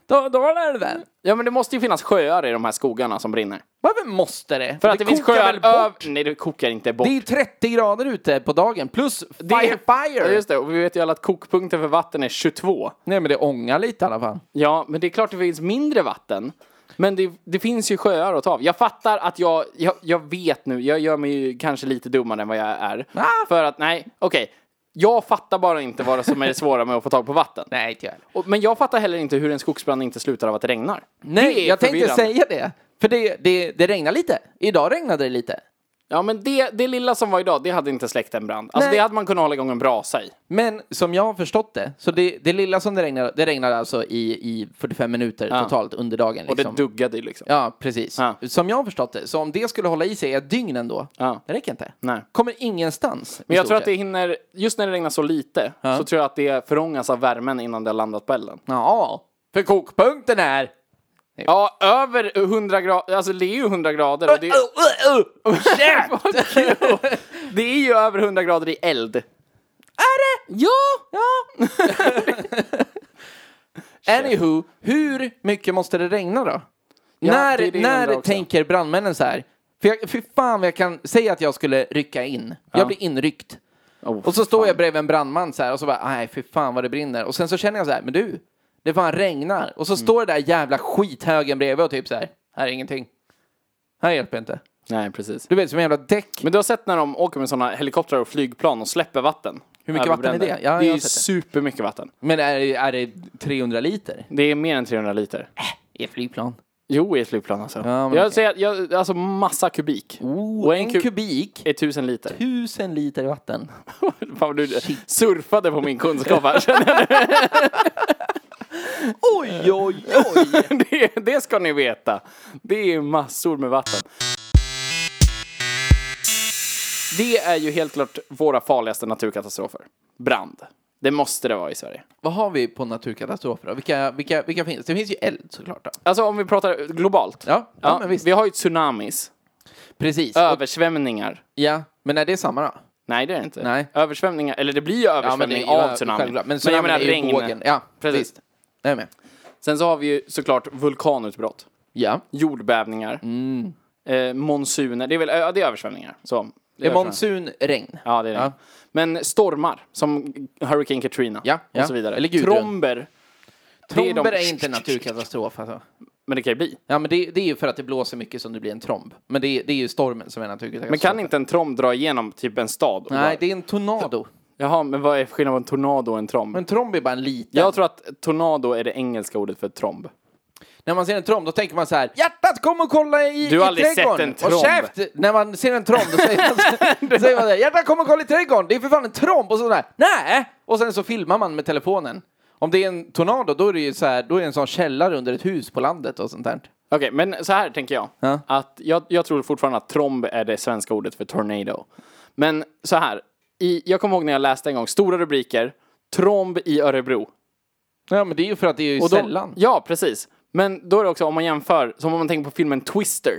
Speaker 2: Då, då är det där.
Speaker 1: Ja men det måste ju finnas sjöar i de här skogarna som brinner.
Speaker 2: Varför måste det?
Speaker 1: För att det, finns
Speaker 2: kokar
Speaker 1: sjöar
Speaker 2: väl bort.
Speaker 1: över... Nej det kokar inte bort.
Speaker 2: Det är ju 30 grader ute på dagen, plus
Speaker 1: Det är-
Speaker 2: fire, fire!
Speaker 1: Ja, just det, och vi vet ju alla att kokpunkten för vatten är 22.
Speaker 2: Nej, men det ångar lite i alla fall.
Speaker 1: Ja, men det är klart det finns mindre vatten. Men det, det finns ju sjöar att ta av. Jag fattar att jag, jag, jag vet nu, jag gör mig ju kanske lite dummare än vad jag är.
Speaker 2: Ah!
Speaker 1: För att, nej, okej. Jag fattar bara inte vad det som är det svåra med att få tag på vatten.
Speaker 2: Nej, inte jag
Speaker 1: Och, men jag fattar heller inte hur en skogsbrand inte slutar av att det regnar. Det
Speaker 2: Nej,
Speaker 1: är
Speaker 2: jag tänkte
Speaker 1: förvirrande.
Speaker 2: säga det. För det, det, det regnar lite. Idag regnade det lite.
Speaker 1: Ja, men det, det lilla som var idag, det hade inte släckt en brand. Alltså
Speaker 2: Nej.
Speaker 1: det hade man kunnat hålla igång en brasa i.
Speaker 2: Men som jag har förstått det, så det, det lilla som det regnade, det regnade alltså i, i 45 minuter totalt under dagen.
Speaker 1: Och det
Speaker 2: Liksom.
Speaker 1: duggade ju liksom.
Speaker 2: Ja, precis.
Speaker 1: Ja.
Speaker 2: Som jag har förstått det, så om det skulle hålla i sig ett dygn ändå,
Speaker 1: Ja.
Speaker 2: det räcker inte.
Speaker 1: Nej.
Speaker 2: Kommer ingenstans.
Speaker 1: Men jag tror att det hinner, just när det regnar så lite, så tror jag att det förångas av värmen innan det har landat på elden.
Speaker 2: Ja, för kokpunkten är...
Speaker 1: Ja, över 100 grader, alltså det är ju 100 grader. Och det, är,
Speaker 2: Uh, uh, uh. Käft!
Speaker 1: det är ju över 100 grader i eld.
Speaker 2: är det? Ja! ja. Anywho, hur mycket måste det regna då? när
Speaker 1: det är det jag
Speaker 2: när
Speaker 1: undrar också.
Speaker 2: tänker brandmännen så här? För, jag, för fan vad jag kan säga att jag skulle rycka in. Jag blir inryckt.
Speaker 1: Oh,
Speaker 2: Och så står jag bredvid en brandman så här och så bara, nej för fan vad det brinner. Och sen så känner jag så här, men du, det fan regnar. Och så står det där jävla skithögen bredvid och typ så här, här är ingenting. Här hjälper inte.
Speaker 1: Nej, precis.
Speaker 2: Du vet som en jävla däck.
Speaker 1: Men du har sett när de åker med sådana helikoptrar och flygplan och släpper vatten?
Speaker 2: Hur mycket
Speaker 1: över
Speaker 2: vatten är
Speaker 1: bränder.
Speaker 2: det? Ja, jag
Speaker 1: det är
Speaker 2: har
Speaker 1: ju
Speaker 2: sett det.
Speaker 1: supermycket vatten.
Speaker 2: Men är, det- är det 300 liter?
Speaker 1: Det är mer än 300 liter.
Speaker 2: I ett flygplan.
Speaker 1: Jo, i ett flygplan alltså.
Speaker 2: men
Speaker 1: jag
Speaker 2: okej.
Speaker 1: säger, att jag, alltså massa kubik.
Speaker 2: Oh,
Speaker 1: Och
Speaker 2: en
Speaker 1: ku-
Speaker 2: kubik,
Speaker 1: är 1000 liter.
Speaker 2: tusen liter vatten.
Speaker 1: Fan vad du surfade på min kunskap här. känner jag.
Speaker 2: Oj, oj, oj!
Speaker 1: det, det ska ni veta. Det är massor med vatten. Det är ju helt klart våra farligaste naturkatastrofer. Brand. Det måste det vara i Sverige.
Speaker 2: Vad har vi på naturkatastrofer då? Vilka, vilka, vilka finns? Det finns ju eld såklart. Då.
Speaker 1: Alltså om vi pratar globalt.
Speaker 2: Ja, ja, men visst.
Speaker 1: Vi har ju tsunamis,
Speaker 2: Precis. Och,
Speaker 1: översvämningar.
Speaker 2: ja, men är det samma då?
Speaker 1: Nej, det är det inte.
Speaker 2: Nej.
Speaker 1: Översvämningar, eller det blir ju översvämning
Speaker 2: det är ju
Speaker 1: av tsunami.
Speaker 2: självklart. Men tsunamin är ju vågen. Ja,
Speaker 1: Precis.
Speaker 2: visst. Jag är med.
Speaker 1: Sen så har vi ju såklart vulkanutbrott.
Speaker 2: Ja.
Speaker 1: jordbävningar,
Speaker 2: Mm.
Speaker 1: eh, monsuner, det är väl ja, det är översvämningar. Så, det
Speaker 2: Är
Speaker 1: är översvämningar.
Speaker 2: monsun regn?
Speaker 1: Ja, det är det.
Speaker 2: Ja.
Speaker 1: Men stormar, som Hurricane Katrina
Speaker 2: Ja,
Speaker 1: och
Speaker 2: ja.
Speaker 1: så vidare.
Speaker 2: Eller Gudrun.
Speaker 1: Tromber, det är de-
Speaker 2: Tromber är inte en naturkatastrof alltså.
Speaker 1: men det kan ju bli.
Speaker 2: Ja, men det, det är ju för att det blåser mycket som det blir en tromb. Men det, det är ju stormen som är naturkatastrof.
Speaker 1: Men kan inte en tromb dra igenom typ en stad? och
Speaker 2: Nej,
Speaker 1: bara-
Speaker 2: det är en tornado.
Speaker 1: Jaha, men vad är skillnaden på en tornado och en tromb?
Speaker 2: Men tromb är bara en liten.
Speaker 1: Jag tror att tornado är det engelska ordet för tromb.
Speaker 2: När man ser en tromb, då tänker man så här. Hjärtat, kom och kolla i
Speaker 1: Du har
Speaker 2: i
Speaker 1: aldrig sett
Speaker 2: trädgården.
Speaker 1: en
Speaker 2: Och
Speaker 1: tromb.
Speaker 2: käft! När man ser en tromb, då säger man, så- då säger man så här, Hjärtat, kom och kolla i trädgården. Det är för fan en tromb. Och så där. Nej! Och sen så filmar man med telefonen. Om det är en tornado, då är det ju så här, då är det en sån källare under ett hus på landet och sånt där.
Speaker 1: Okej, men så här tänker jag.
Speaker 2: Ja.
Speaker 1: Att jag, jag tror fortfarande att tromb är det svenska ordet för tornado. Men så här, i, jag kommer ihåg när jag läste en gång, stora rubriker, tromb i Örebro.
Speaker 2: Ja, men det är ju för att det är ju
Speaker 1: Och då-
Speaker 2: sällan.
Speaker 1: Ja, precis. Men då är det också, om man jämför, som om man tänker på filmen Twister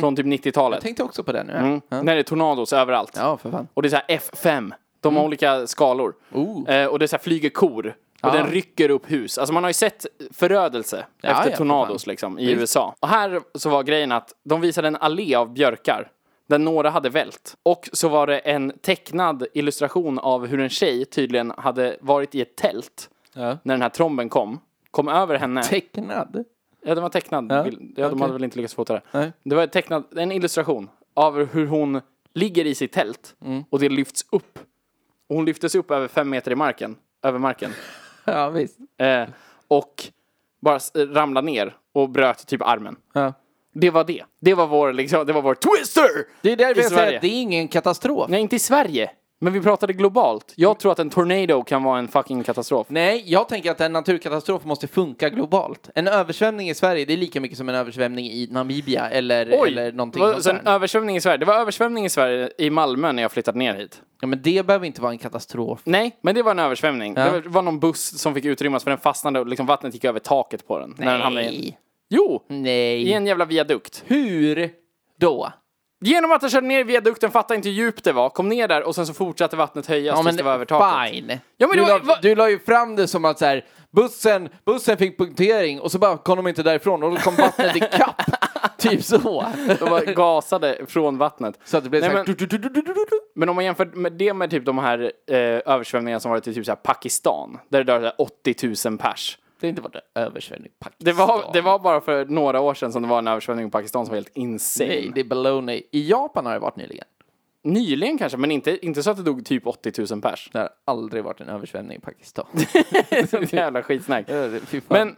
Speaker 1: från typ 90-talet.
Speaker 2: Mm. Jag tänkte också på det nu.
Speaker 1: Mm. När det är tornados överallt.
Speaker 2: Ja, för fan.
Speaker 1: Och det är så här F5. De
Speaker 2: Mm.
Speaker 1: har olika skalor.
Speaker 2: Oh.
Speaker 1: Eh, och det är så här flyger kor. Och den rycker upp hus. Alltså man har ju sett förödelse efter
Speaker 2: ja, för
Speaker 1: tornados
Speaker 2: fan.
Speaker 1: liksom i USA. Och här så var grejen att de visade en allé av björkar. Där några hade vält. Och så var det en tecknad illustration av hur en tjej tydligen hade varit i ett tält.
Speaker 2: Ja.
Speaker 1: När den här tromben kom. Kom över henne.
Speaker 2: Tecknad?
Speaker 1: Ja, den var tecknad. Ja, ja, de hade väl inte lyckats fota det.
Speaker 2: Nej.
Speaker 1: Det var
Speaker 2: Mm.
Speaker 1: tecknad, en illustration av hur hon ligger i sitt tält och det lyfts upp Och hon lyftes upp över fem meter i marken. Över marken.
Speaker 2: Ja, visst.
Speaker 1: Eh, och bara s- eh, ramlade ner och bröt typ armen.
Speaker 2: Ja.
Speaker 1: Det var det. Det var vår, liksom, det var vår twister!
Speaker 2: Det är
Speaker 1: I
Speaker 2: därför jag säger
Speaker 1: Sverige.
Speaker 2: att det är ingen katastrof.
Speaker 1: Nej, inte i Sverige. Men vi pratade globalt. Jag tror att en tornado kan vara en fucking katastrof.
Speaker 2: Nej, jag tänker att en naturkatastrof måste funka globalt. En översvämning i Sverige, det är lika mycket som en översvämning i Namibia eller, eller någonting
Speaker 1: det var,
Speaker 2: sånt
Speaker 1: så en
Speaker 2: där.
Speaker 1: översvämning i Sverige. Det var översvämning i Sverige, i Malmö, när jag flyttade ner hit.
Speaker 2: Ja, men det behöver inte vara en katastrof.
Speaker 1: Nej, men det var en översvämning.
Speaker 2: Ja.
Speaker 1: Det var- var någon buss som fick utrymmas för den fastnade och liksom vattnet gick över taket på den. När den hamnade in.
Speaker 2: Nej.
Speaker 1: Jo! I
Speaker 2: Nej.
Speaker 1: en jävla viadukt.
Speaker 2: Hur då?
Speaker 1: Genom att den körde ner i viadukten, fattade inte hur djupt det var, kom ner där och sen så fortsatte vattnet höjas tills det var över taket.
Speaker 2: fine.
Speaker 1: Ja, men
Speaker 2: du,
Speaker 1: det var-
Speaker 2: la,
Speaker 1: va-
Speaker 2: du la ju fram det som att så här, bussen, bussen fick punktering och så bara kom de inte därifrån och då kom vattnet ikapp. typ så.
Speaker 1: De var gasade från vattnet.
Speaker 2: Så att det blev
Speaker 1: Nej,
Speaker 2: så här...
Speaker 1: men- Men om man jämför med det med typ de här eh, översvämningarna som varit i typ så här Pakistan, där det dör så här 80 000 pers.
Speaker 2: Det har inte varit en översvämning i Pakistan.
Speaker 1: Det var, det var bara för några år sedan som det var en översvämning i Pakistan som var helt insane.
Speaker 2: Nej, det är baloney. I Japan har det varit nyligen.
Speaker 1: Nyligen kanske, men inte, inte så att det dog typ 80 000 pers.
Speaker 2: Det har aldrig varit en översvämning i Pakistan.
Speaker 1: Sånt jävla skitsnack.
Speaker 2: Fy fan.
Speaker 1: Men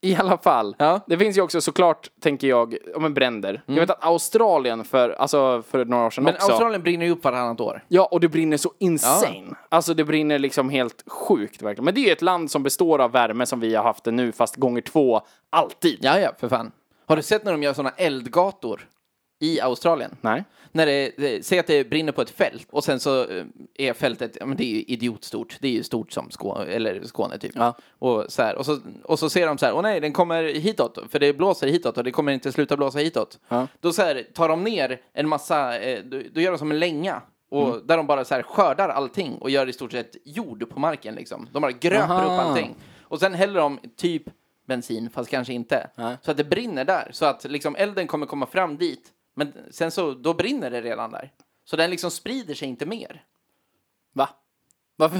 Speaker 1: i alla fall,
Speaker 2: Ja. Mm.
Speaker 1: det finns ju också såklart, tänker jag, om en bränder. Jag vet att Australien för, alltså, för några år sedan
Speaker 2: Men
Speaker 1: också.
Speaker 2: Australien brinner ju upp vartannat år.
Speaker 1: Ja, och det brinner så insane. Alltså det brinner liksom helt sjukt verkligen. Men det är ju ett land som består av värme som vi har haft det nu, fast gånger två, alltid.
Speaker 2: Ja, ja, för fan. Har du sett när de gör sådana eldgator i Australien?
Speaker 1: Nej.
Speaker 2: När det, det, säg att det brinner på ett fält och sen så eh, är fältet, ja men det är ju idiotstort, det är ju stort som Skåne, eller Skåne typ.
Speaker 1: Ja.
Speaker 2: Och, så här, och, så, och så ser de så här, åh nej, den kommer hitåt, för det blåser hitåt och det kommer inte sluta blåsa hitåt.
Speaker 1: Ja.
Speaker 2: Då så här, tar de ner en massa, eh, då, då gör de som en länga. Och där de bara så här skördar allting och gör i stort sett jord på marken liksom. De bara gröper
Speaker 1: Aha.
Speaker 2: upp allting. Och sen häller de typ bensin, fast kanske inte.
Speaker 1: Nej.
Speaker 2: Så att det brinner där. Så att liksom elden kommer komma fram dit. Men sen så, då brinner det redan där. Så den liksom sprider sig inte mer.
Speaker 1: Va? Varför?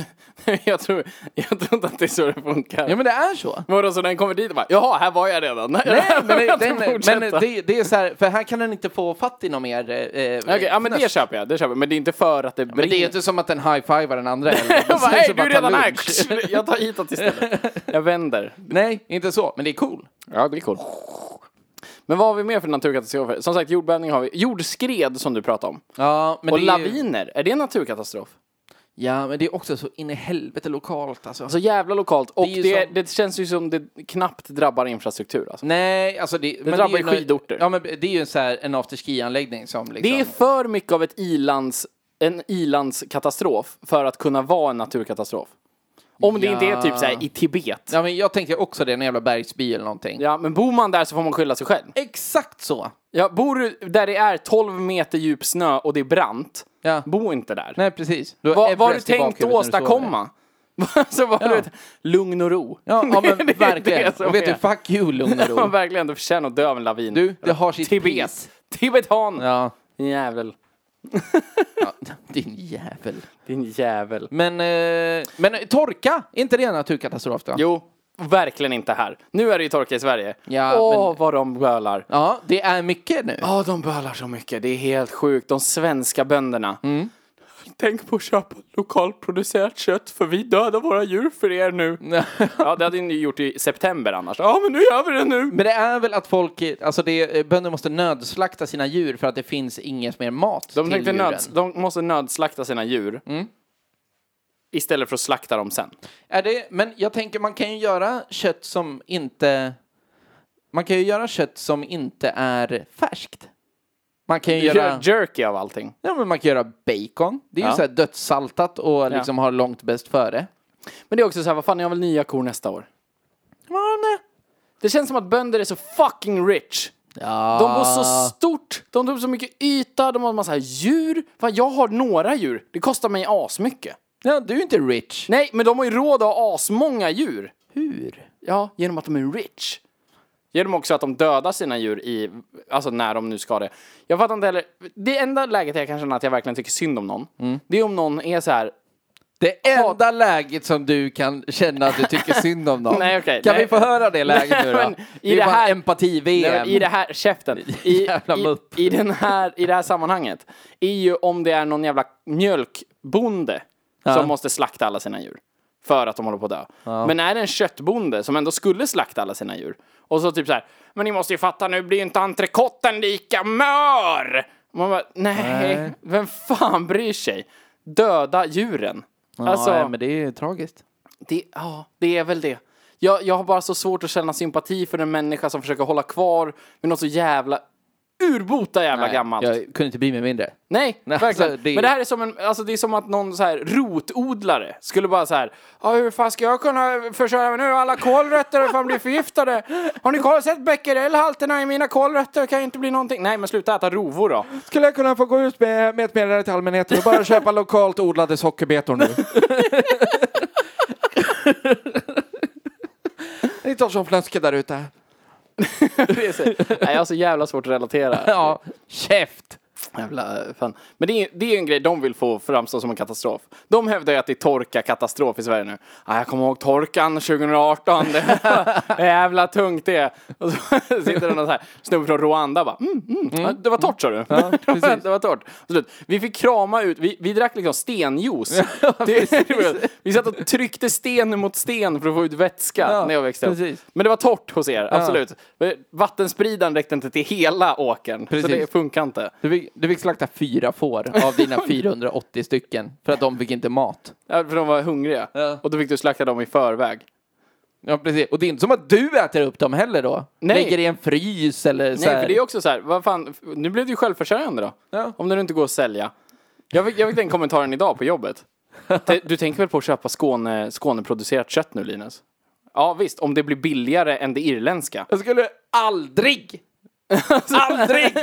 Speaker 1: jag, tror, jag tror inte att det är så det funkar.
Speaker 2: Ja men det är så.
Speaker 1: Vadå, så den kommer dit och bara jaha, här var jag redan.
Speaker 2: Nej, men, det, den,
Speaker 1: Fortsätta.
Speaker 2: men det, det är så här, för här kan den inte få fatt i någon mer. Eh,
Speaker 1: Okej, ja men det köper jag, det köper jag. Men det är inte för att det brinner.
Speaker 2: men det är typ ju inte som att den high-fivar den andra. elden.
Speaker 1: jag bara,
Speaker 2: Så- så
Speaker 1: hej, du
Speaker 2: bara tar
Speaker 1: är redan
Speaker 2: lunch.
Speaker 1: här! Jag tar hitåt istället. Jag vänder.
Speaker 2: Nej, inte så. Men det är cool.
Speaker 1: Ja, det är coolt. Men vad har vi mer för naturkatastrofer? Som sagt, jordbävning har vi. Jordskred som du pratade om.
Speaker 2: Ja, men
Speaker 1: och
Speaker 2: det är ju-
Speaker 1: laviner, är det en naturkatastrof?
Speaker 2: Ja, men det är också så in i helvete lokalt alltså.
Speaker 1: Så jävla lokalt. Och
Speaker 2: Det är ju
Speaker 1: det, det,
Speaker 2: som-
Speaker 1: känns ju som det knappt drabbar infrastruktur. Alltså.
Speaker 2: Nej, alltså det... men
Speaker 1: drabbar
Speaker 2: är
Speaker 1: ju skidorter.
Speaker 2: Ja, men det är ju en, så här, en afterski-anläggning som liksom...
Speaker 1: Det är för mycket av ett ilands, en ilandskatastrof för att kunna vara en naturkatastrof. Om det
Speaker 2: Ja.
Speaker 1: inte är typ såhär i Tibet. Ja.
Speaker 2: Ja, men jag tänkte också det, en jävla bergsby eller någonting.
Speaker 1: men bor man där så får man skylla sig själv.
Speaker 2: Exakt så!
Speaker 1: Ja, bor du där det är 12 meter djup snö och det är brant,
Speaker 2: Ja.
Speaker 1: bo inte där.
Speaker 2: Nej, precis. Du har
Speaker 1: Vad vad har du
Speaker 2: Everest i
Speaker 1: tänkt
Speaker 2: bakhuvudet när du sover.
Speaker 1: åstadkomma? så vad har
Speaker 2: Ja.
Speaker 1: du, lugn och ro.
Speaker 2: Ja, ja men
Speaker 1: Det är
Speaker 2: verkligen.
Speaker 1: det som
Speaker 2: Och vet
Speaker 1: är.
Speaker 2: du, fuck you, lugn och
Speaker 1: Man
Speaker 2: ro.
Speaker 1: verkligen, du förtjänar att dö av en lavin.
Speaker 2: Du, det har sitt
Speaker 1: Tibet.
Speaker 2: pris.
Speaker 1: Tibetan!
Speaker 2: Ja,
Speaker 1: Din jävel.
Speaker 2: ja, din jävel.
Speaker 1: Din jävel.
Speaker 2: Men, eh, men torka, är inte det en naturkatastrof då?
Speaker 1: Jo, verkligen inte här. Nu är det ju torka i Sverige.
Speaker 2: Ja,
Speaker 1: Åh,
Speaker 2: men-
Speaker 1: vad de bölar.
Speaker 2: Ja, det är mycket nu.
Speaker 1: Ja, de bölar så mycket. Det är helt sjukt. De svenska bönderna. Tänk på att köpa lokalproducerat kött för vi dödar våra djur för er nu. ja, det hade ni ju gjort i september annars. Ja, men nu gör vi det nu.
Speaker 2: Men det är väl att folk, alltså det, bönder måste nödslakta sina djur för att det finns inget mer mat
Speaker 1: De,
Speaker 2: till
Speaker 1: tänkte
Speaker 2: djuren.
Speaker 1: nöds, de måste nödslakta sina djur. Istället för att slakta dem sen.
Speaker 2: Är det, men jag tänker man kan ju göra kött som inte, man kan ju göra kött som inte är färskt. Man kan ju
Speaker 1: Gör
Speaker 2: göra,
Speaker 1: jerky av allting.
Speaker 2: ja, men man kan göra bacon. Det är ju
Speaker 1: Ja.
Speaker 2: så här dödssaltat och liksom har långt bäst före.
Speaker 1: Men det är också så här, vad fan, jag har väl nya kor nästa år.
Speaker 2: Ja, nej.
Speaker 1: Det känns som att bönder är så fucking rich.
Speaker 2: Ja.
Speaker 1: De bor så stort, de har så mycket yta, de har en massa djur. Fan, jag har några djur, det kostar mig asmycket.
Speaker 2: ja, du är inte rich.
Speaker 1: Nej, men de har ju råd att ha asmånga djur.
Speaker 2: Hur?
Speaker 1: Ja, genom att de är rich. Genom också att de dödar sina djur i, alltså när de nu ska det. Jag fattar inte heller, det enda läget jag kan känna att jag verkligen tycker synd om någon, det är om någon är så här.
Speaker 2: Det enda läget som du kan känna att du tycker synd om någon.
Speaker 1: Nej, okej,
Speaker 2: kan
Speaker 1: nej.
Speaker 2: vi få höra det läget nu då?
Speaker 1: Men
Speaker 2: I det, är här empati-VM.
Speaker 1: I det här, käften. I,
Speaker 2: Jävla
Speaker 1: i,
Speaker 2: mupp.
Speaker 1: i, den här, I det här sammanhanget, är ju om det är någon jävla mjölkbonde som måste slakta alla sina djur. För att de håller på att dö. Men är det en köttbonde som ändå skulle slakta alla sina djur. Och så typ så här. Men ni måste ju fatta nu blir ju inte entrecoten lika mör. Och Man bara, nej,
Speaker 2: Nej.
Speaker 1: vem fan bryr sig? Döda djuren. alltså,
Speaker 2: ja, men det är ju tragiskt.
Speaker 1: det, ja, det är väl det. Jag, jag har bara så svårt att känna sympati för en människa som försöker hålla kvar vid något så jävla urbota jävla
Speaker 2: Nej,
Speaker 1: gammalt.
Speaker 2: Jag kunde inte bli mig mindre.
Speaker 1: Nej,
Speaker 2: Nej,
Speaker 1: verkligen.
Speaker 2: alltså, det är-
Speaker 1: Men det här är som en, alltså det är som att någon så här rotodlare skulle bara så här, ja hur fan ska jag kunna försörja mig nu? Alla kålrötter har fan blir förgiftade. Har ni koll- sett becquerelhalterna i mina kålrötter? Kan ju inte bli någonting. Nej, men sluta äta rovor då.
Speaker 3: Skulle jag kunna få gå ut med, med ett meddelande till allmänheten och bara köpa lokalt odlade sockerbetor nu? Ni tar som fläske där ute.
Speaker 1: Det är så- Nej, jag har så jävla svårt att relatera.
Speaker 2: Ja, käft!
Speaker 1: Jävla eh, fan. Men det är, det är ju en grej de vill få framstå som en katastrof. De hävdar ju att det är torka katastrof i Sverige nu. Ah, jag kommer ihåg torkan 2018. Det var jävla tungt det. Och så sitter det någon så här snubbe från Rwanda och bara mm, mm. ja, Det var torrt sa du. det, var, det var torrt. Och slut. Vi fick krama ut, vi, vi drack liksom stenjuice. det, vi satt och tryckte sten mot sten för att få ut vätska
Speaker 2: Ja,
Speaker 1: när jag växte upp.
Speaker 2: precis.
Speaker 1: Men det var torrt hos er, absolut. Men Vattenspridaren räckte inte till hela åkern. Så
Speaker 2: Precis.
Speaker 1: det funkar inte.
Speaker 2: Du fick, du fick slakta fyra får av dina 480 stycken för att de fick inte mat.
Speaker 1: Ja, för de var hungriga.
Speaker 2: Ja.
Speaker 1: Och då fick du slakta dem i förväg.
Speaker 2: Ja, precis. Och det är inte som att du äter upp dem heller då.
Speaker 1: Nej.
Speaker 2: Lägger i en frys eller så
Speaker 1: Nej,
Speaker 2: här.
Speaker 1: för det är också så här, vad fan, f- nu blev du ju självförsörjande då.
Speaker 2: Ja.
Speaker 1: Om det nu inte går att sälja. Jag fick, jag fick den kommentaren idag på jobbet. Te- Du tänker väl på att köpa Skåne, Skåneproducerat kött nu, Linus? Ja, visst, om det blir billigare än det irländska.
Speaker 2: Jag skulle aldrig! aldrig!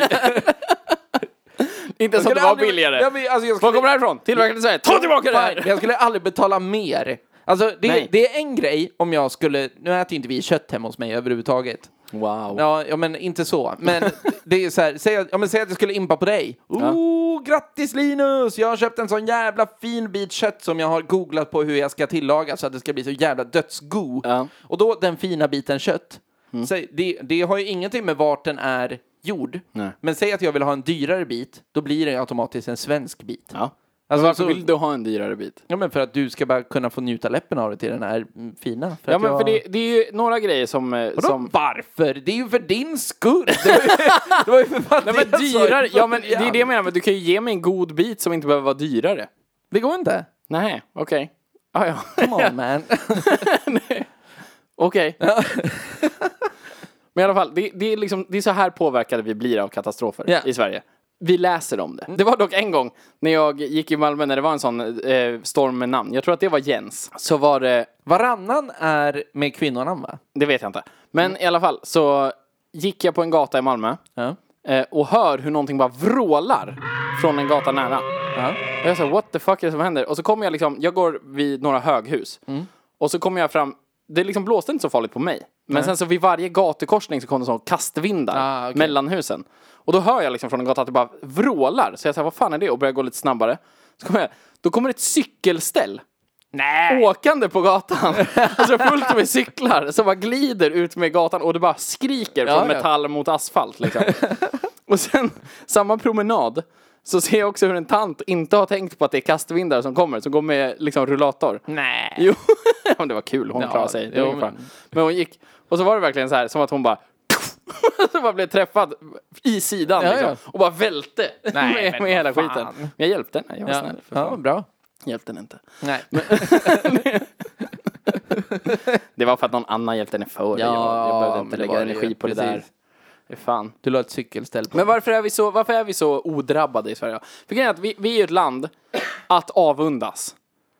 Speaker 1: Inte ens att det var billigare.
Speaker 2: Ja, men, alltså, jag
Speaker 1: Var
Speaker 2: skulle...
Speaker 1: kommer det här ifrån? Tillverkat i Sverige. Ta tillbaka det
Speaker 2: Nej, men
Speaker 1: här!
Speaker 2: jag skulle aldrig betala mer. Alltså, det,
Speaker 1: Nej.
Speaker 2: det är en grej om jag skulle... Nu äter inte vi kött hemma hos mig överhuvudtaget.
Speaker 1: Wow.
Speaker 2: Ja, ja men inte så. Men det är så här, säg, att- ja, men säg att jag skulle impa på dig. Oh, grattis Linus! Jag har köpt en sån jävla fin bit kött som jag har googlat på hur jag ska tillaga så att det ska bli så jävla dödsgo.
Speaker 1: Ja. Mm.
Speaker 2: Och då den fina biten kött. Säg, det, det har ju ingenting med vart den är gjord.
Speaker 1: Nej.
Speaker 2: Men säg att jag vill ha en dyrare bit, då blir det automatiskt en svensk bit.
Speaker 1: Ja.
Speaker 2: Alltså,
Speaker 1: Varför
Speaker 2: så-
Speaker 1: vill du ha en dyrare bit?
Speaker 2: Ja, men för att du ska bara kunna få njuta läppen av det till den här mm, fina.
Speaker 1: Ja,
Speaker 2: att
Speaker 1: men
Speaker 2: jag-
Speaker 1: för det, det är ju några grejer som... eh,
Speaker 2: Vadå
Speaker 1: som...
Speaker 2: varför? Det är ju för din skull! Det var ju, det var ju för fan det
Speaker 1: Nej men
Speaker 2: jag sa
Speaker 1: dyrare,
Speaker 2: i
Speaker 1: ja men det är
Speaker 2: början.
Speaker 1: det jag menar, men du kan ju ge mig en god bit som inte behöver vara dyrare.
Speaker 2: Det går inte.
Speaker 1: Nej, okej. Ah, ja,
Speaker 2: Come on man.
Speaker 1: okej. Men i alla fall, det, det, är liksom, det är så här påverkade vi blir av katastrofer
Speaker 2: Ja. Mm.
Speaker 1: i Sverige. Vi läser om det. Det var dock en gång när jag gick i Malmö när det var en sån eh, storm med namn. Jag tror att det var Jens. Så var det
Speaker 2: Varannan är med kvinnorna va?
Speaker 1: Det vet jag inte. Men
Speaker 2: Mm.
Speaker 1: i alla fall så gick jag på en gata i Malmö
Speaker 2: Ja.
Speaker 1: eh, och hör hur någonting bara vrålar från en gata nära. Och jag sa what the fuck är det som händer? Och så kommer jag liksom, jag går vid några höghus.
Speaker 2: Mm.
Speaker 1: Och så kommer jag fram, det liksom blåste inte så farligt på mig. Men sen så vid varje gatukorsning så kom det sån kastvindar
Speaker 2: Ah, okej.
Speaker 1: mellan husen. Och då hör jag liksom från en gata att det bara vrålar. Så jag säger vad fan är det? Och börjar gå lite snabbare. Så kommer jag, då kommer ett cykelställ
Speaker 2: Nej!
Speaker 1: åkande på gatan. Alltså fullt med cyklar som bara glider ut med gatan och det bara skriker
Speaker 2: Ja,
Speaker 1: från
Speaker 2: ja.
Speaker 1: metall mot asfalt. Liksom. och sen samma promenad så ser jag också hur en tant inte har tänkt på att det är kastvindar som kommer, som går med liksom rullator.
Speaker 2: Nej!
Speaker 1: Jo, ja, men det var kul. Hon klarade sig. Det
Speaker 2: jo,
Speaker 1: var ingen fara.
Speaker 2: men-
Speaker 1: Men hon gick och så var det verkligen så här som att hon bara så bara blev träffad i sidan
Speaker 2: Ja,
Speaker 1: liksom,
Speaker 2: ja.
Speaker 1: och bara välte
Speaker 2: Nej,
Speaker 1: med,
Speaker 2: men
Speaker 1: med hela
Speaker 2: vad
Speaker 1: skiten.
Speaker 2: fan.
Speaker 1: Men jag hjälpte henne. Jag var
Speaker 2: Ja,
Speaker 1: snäll. För
Speaker 2: ja,
Speaker 1: fan.
Speaker 2: bra.
Speaker 1: Hjälpte henne inte.
Speaker 2: Nej.
Speaker 1: Det var för att någon annan hjälpte henne före. jag, jag behövde
Speaker 2: men
Speaker 1: inte
Speaker 2: det
Speaker 1: lägga
Speaker 2: var det
Speaker 1: energi
Speaker 2: ju.
Speaker 1: på det där.
Speaker 2: Precis.
Speaker 1: Det är Fan.
Speaker 2: Du la ett cykelställ på.
Speaker 1: Men varför är vi så, varför är vi så odrabbade i Sverige? För grejen är att vi, vi är ju ett land att avundas.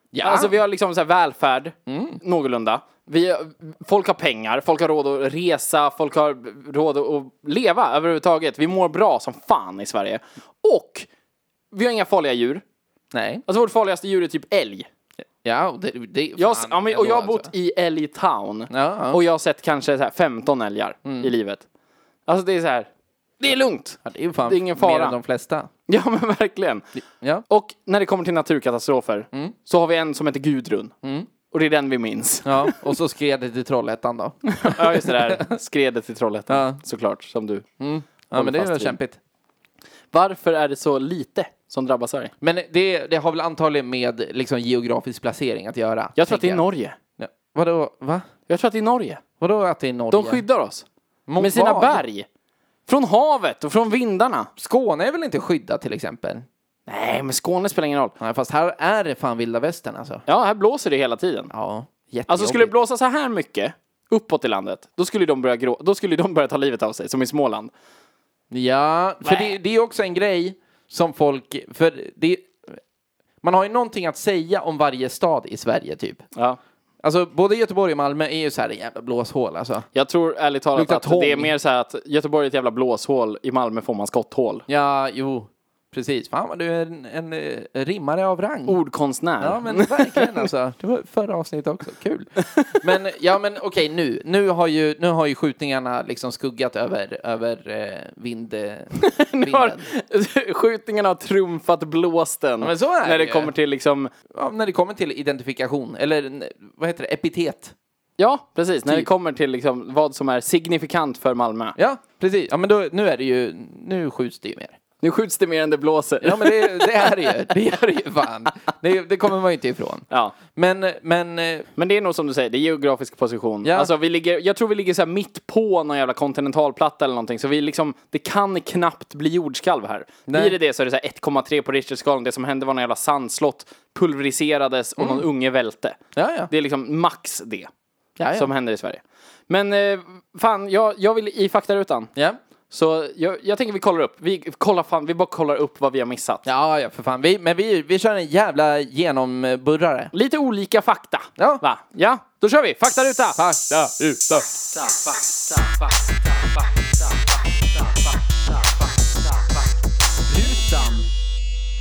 Speaker 2: ja.
Speaker 1: Alltså vi har liksom så här välfärd, någorlunda. Vi, folk har pengar, folk har råd att resa, folk har råd att leva överhuvudtaget. Vi mår bra som fan i Sverige. Och vi har inga farliga djur.
Speaker 2: Nej.
Speaker 1: Alltså vårt farligaste djur är typ älg.
Speaker 2: Ja, och det, det fan,
Speaker 1: Jag, ja, men, och
Speaker 2: ändå,
Speaker 1: jag har bott
Speaker 2: alltså.
Speaker 1: i Älg Town.
Speaker 2: Ja, Mm. ja.
Speaker 1: Och jag har sett kanske så här 15 älgar i livet. Alltså det är så här, det är lugnt.
Speaker 2: Ja, det är ju fan
Speaker 1: det är ingen
Speaker 2: mer
Speaker 1: fara.
Speaker 2: än de flesta.
Speaker 1: Ja men verkligen.
Speaker 2: Ja.
Speaker 1: Och när det kommer till naturkatastrofer
Speaker 2: Mm.
Speaker 1: så har vi en som heter Gudrun. Och det är den vi minns.
Speaker 2: ja. Och så skred det till Trollhättan då.
Speaker 1: Ja just det där, skredet i Trollhättan
Speaker 2: Ja.
Speaker 1: såklart, som du.
Speaker 2: Ja, men det är
Speaker 1: fast
Speaker 2: väl
Speaker 1: vid.
Speaker 2: kämpigt.
Speaker 1: Varför är det så lite som drabbas här.
Speaker 2: Men det, det har väl antagligen med liksom, geografisk placering att göra?
Speaker 1: Jag tror att det
Speaker 2: tänker
Speaker 1: är Norge.
Speaker 2: jag. Vadå, va?
Speaker 1: Jag tror att det är Norge.
Speaker 2: Vadå att det är Norge?
Speaker 1: De skyddar oss.
Speaker 2: Mot
Speaker 1: med sina
Speaker 2: vad?
Speaker 1: berg. Från havet och från vindarna.
Speaker 2: Skåne är väl inte skyddat till exempel?
Speaker 1: Nej, men Skåne spelar ingen roll.
Speaker 2: Nej, fast här är det fan vilda västern alltså.
Speaker 1: Ja, här blåser det hela tiden.
Speaker 2: Ja, jättejobbigt.
Speaker 1: Alltså skulle det blåsa så här mycket uppåt i landet, då skulle de börja, grå- då skulle de börja ta livet av sig, som i Småland.
Speaker 2: Ja, för det, det är också en grej som folk... För det, man har ju någonting att säga om varje stad i Sverige, typ.
Speaker 1: Ja.
Speaker 2: Alltså, både Göteborg och Malmö är ju så här en jävla blåshål, alltså.
Speaker 1: Jag tror ärligt talat
Speaker 2: Luktar
Speaker 1: att det är
Speaker 2: tång.
Speaker 1: mer så här att Göteborg är ett jävla blåshål, i Malmö får man skotthål.
Speaker 2: Ja, jo, precis. Fan vad du är en, en eh, rimmare av rang.
Speaker 1: Ordkonstnär.
Speaker 2: Ja, men verkligen alltså. Mm. Det var förra avsnittet också. Kul. Men ja, men okej, nu. Nu har ju, nu har ju skjutningarna liksom skuggat över, över eh, vind, eh,
Speaker 1: Nu har,
Speaker 2: vinden.
Speaker 1: skjutningarna har trumfat blåsten.
Speaker 2: men så är
Speaker 1: när
Speaker 2: det
Speaker 1: det
Speaker 2: ju.
Speaker 1: kommer till liksom,
Speaker 2: Ja, när det kommer till identifikation, eller n- vad heter det, epitet.
Speaker 1: ja precis, när det kommer till liksom vad som är signifikant för Malmö.
Speaker 2: Typ. Ja, precis. Ja, men då, nu är det ju, nu skjuts det ju mer.
Speaker 1: Nu skjuts det mer än det blåser.
Speaker 2: Ja, men det, det är det ju. Det är det ju fan. Det, det kommer man ju inte ifrån.
Speaker 1: Ja.
Speaker 2: Men, men, eh,
Speaker 1: Men det är nog som du säger, det är geografisk position.
Speaker 2: Ja.
Speaker 1: Alltså, vi ligger, jag tror vi ligger så här mitt på någon jävla kontinentalplatta eller någonting. Så vi liksom, det kan knappt bli jordskalv här. Blir det det så är det så här 1,3 på Richterskalan. Det som hände var någon jävla sandslott pulveriserades och någon unge välte.
Speaker 2: Mm. ja, ja.
Speaker 1: Det är liksom max det
Speaker 2: ja, ja.
Speaker 1: som händer i Sverige. Men eh, fan, jag, jag vill i faktarutan.
Speaker 2: ja.
Speaker 1: Så jag, jag tänker vi kollar upp. Vi kollar fan, vi bara kollar upp vad vi har missat.
Speaker 2: Ja, ja, för fan. Vi, men vi, vi kör en jävla genomburrare.
Speaker 1: Lite olika fakta.
Speaker 2: Ja.
Speaker 1: Va? Ja, då kör vi. Faktaruta.
Speaker 2: Fakta
Speaker 4: Utan.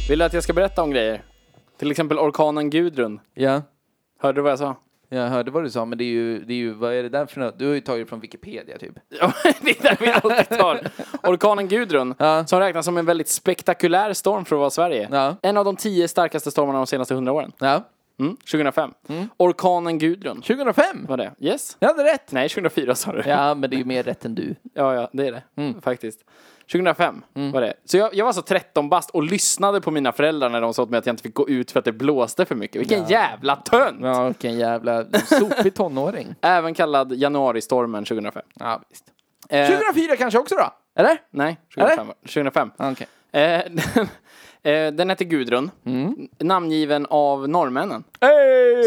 Speaker 1: Vill du att jag ska berätta om grejer? Till exempel orkanen Gudrun.
Speaker 2: Ja.
Speaker 1: Hörde du vad jag sa?
Speaker 2: Jag hörde vad du sa, men det är ju, det är ju vad är det där för något? Du har ju tagit det från Wikipedia typ.
Speaker 1: Ja, det är där vi alltid tar. Orkanen Gudrun, som räknas som en väldigt spektakulär storm för att vara Sverige.
Speaker 2: Ja.
Speaker 1: En av de tio starkaste stormarna de senaste hundra åren.
Speaker 2: Ja.
Speaker 1: Mm, 2005. Orkanen Gudrun.
Speaker 2: 2005!
Speaker 1: Var det? Yes?
Speaker 2: Jag hade rätt!
Speaker 1: Nej, 2004 sa du.
Speaker 2: Ja, men det är ju mer rätt än du.
Speaker 1: Ja, ja, det är det. Faktiskt. 2005 var det. Så jag, jag var så 13 bast och lyssnade på mina föräldrar när de sa åt mig att jag inte fick gå ut för att det blåste för mycket. Vilken jävla tönt!
Speaker 2: Ja, vilken jävla sopig tonåring.
Speaker 1: Även kallad januaristormen 2005.
Speaker 2: Ja, visst.
Speaker 1: Eh,
Speaker 2: 2004 kanske också då? Eller?
Speaker 1: Nej, 2005. var- 2005.
Speaker 2: Okej.
Speaker 1: Eh, eh, den hette Gudrun. Namngiven av norrmännen.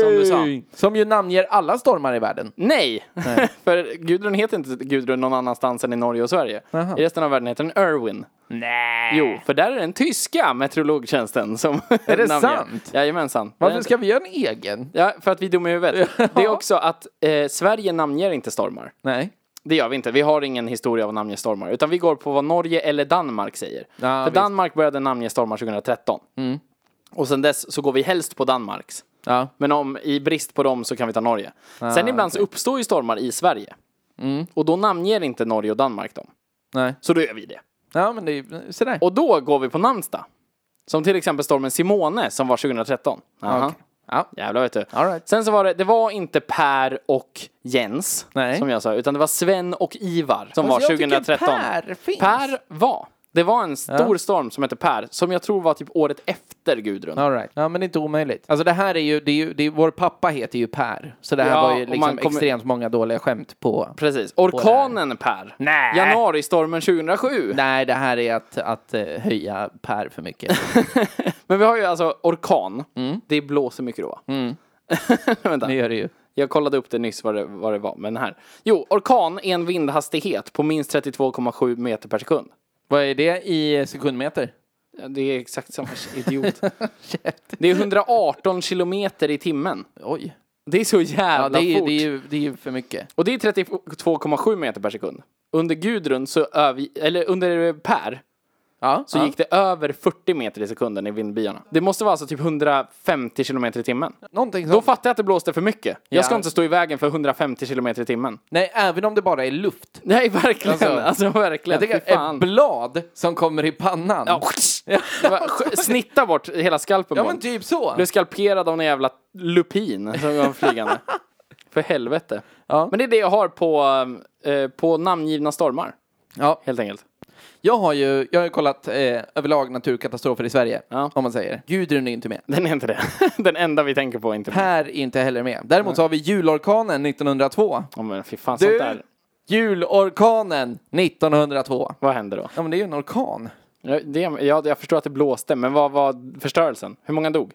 Speaker 1: Som du sa.
Speaker 2: Som ju namnger alla stormar i världen.
Speaker 1: Nej! för Gudrun heter inte Gudrun någon annanstans än i Norge och Sverige. I resten av världen heter den Erwin.
Speaker 2: Nej.
Speaker 1: Jo, för där är den tyska meteorologtjänsten som Är
Speaker 2: det sant?
Speaker 1: Jajamensan.
Speaker 2: Varför ska vi göra en egen?
Speaker 1: Ja, för att vi är dumma i huvudet. Det är också att eh, Sverige namnger inte stormar.
Speaker 2: Nej.
Speaker 1: Det gör vi inte. Vi har ingen historia av att namnge stormar. Utan vi går på vad Norge eller Danmark säger.
Speaker 2: Ja,
Speaker 1: För
Speaker 2: visst. Mm.
Speaker 1: Danmark började namnge stormar 2013. Och sen dess så går vi helst på Danmarks.
Speaker 2: Ja.
Speaker 1: Men om, i brist på dem så kan vi ta Norge.
Speaker 2: Ah,
Speaker 1: sen ibland så uppstår ju stormar i Sverige.
Speaker 2: Mm.
Speaker 1: Och då namnger inte Norge och Danmark dem.
Speaker 2: Nej.
Speaker 1: Så då gör vi det.
Speaker 2: Ja, men det är ju sådär.
Speaker 1: Och då går vi på namnsdag. Som till exempel stormen Simone som var 2013. Aha.
Speaker 2: Okej. Ja.
Speaker 1: Jävlar vet du.
Speaker 2: All right.
Speaker 1: Sen så var det, det var inte Per och Jens,
Speaker 2: Nej.
Speaker 1: som jag sa, utan det var Sven och Ivar som
Speaker 2: Alltså,
Speaker 1: var
Speaker 2: jag tycker
Speaker 1: 2013.
Speaker 2: Per finns.
Speaker 1: Per var. Det var en stor storm som hette Per, som jag tror var typ året efter Gudrun.
Speaker 2: All right. Ja, men det är inte omöjligt. Alltså det här är ju, det är ju det är, vår pappa heter ju Per. Så det här
Speaker 1: Ja,
Speaker 2: var ju
Speaker 1: och
Speaker 2: liksom
Speaker 1: man kommer-
Speaker 2: extremt många dåliga skämt på.
Speaker 1: Precis. Orkanen Per.
Speaker 2: Nej.
Speaker 1: Januaristormen 2007.
Speaker 2: Nej, det här är att, att eh, höja Per för mycket.
Speaker 1: Men vi har ju alltså orkan.
Speaker 2: Mm.
Speaker 1: Det blåser mycket då. Mm. Vänta.
Speaker 2: Det gör det ju.
Speaker 1: Jag kollade upp det nyss vad det, vad det var, men här. Jo, orkan är en vindhastighet på minst 32,7 meter per sekund.
Speaker 2: Vad är det i sekundmeter?
Speaker 1: Ja, Det är exakt samma idiot. det är 118 kilometer i timmen.
Speaker 2: Oj.
Speaker 1: Det är så jävla
Speaker 2: Ja, det är, ju-
Speaker 1: fort.
Speaker 2: det, är ju, det är ju för mycket.
Speaker 1: Och det är 32,7 meter per sekund. Under Gudrun, så över, eller under Per,
Speaker 2: Ja,
Speaker 1: så gick det över 40 meter i sekunden i vindbyarna. Det måste vara alltså typ 150 kilometer i timmen.
Speaker 2: någonting
Speaker 1: Då
Speaker 2: sånt.
Speaker 1: fattar jag att det blåste för mycket. Jag ska
Speaker 2: Ja.
Speaker 1: inte stå i vägen för 150 kilometer i timmen.
Speaker 2: Nej, även om det bara är luft.
Speaker 1: Nej, verkligen. Alltså,
Speaker 2: Alltså,
Speaker 1: verkligen.
Speaker 2: Jag tänker
Speaker 1: Fy
Speaker 2: ett blad som kommer i pannan.
Speaker 1: Ja, Det var- sk- Snitta bort hela skalpen
Speaker 2: Ja,
Speaker 1: på
Speaker 2: men
Speaker 1: honom.
Speaker 2: typ så.
Speaker 1: Blev skalperad av en jävla lupin som var flygande. För helvete.
Speaker 2: Ja.
Speaker 1: Men det är det jag har på, eh, på namngivna stormar,
Speaker 2: Ja.
Speaker 1: helt enkelt.
Speaker 2: Jag har ju, jag har ju kollat eh, överlag naturkatastrofer i Sverige,
Speaker 1: Ja.
Speaker 2: om man säger. Gudrun är inte med.
Speaker 1: Den är inte det. Den enda vi tänker på är inte
Speaker 2: Per är inte heller med. Däremot så har vi julorkanen 1902.
Speaker 1: Ja, men fy fan, sånt
Speaker 2: Du,
Speaker 1: där.
Speaker 2: julorkanen 1902.
Speaker 1: Vad händer då?
Speaker 2: Ja, men det är ju en orkan.
Speaker 1: Ja, det, jag, jag förstår att det blåste, men vad var förstörelsen? Hur många dog?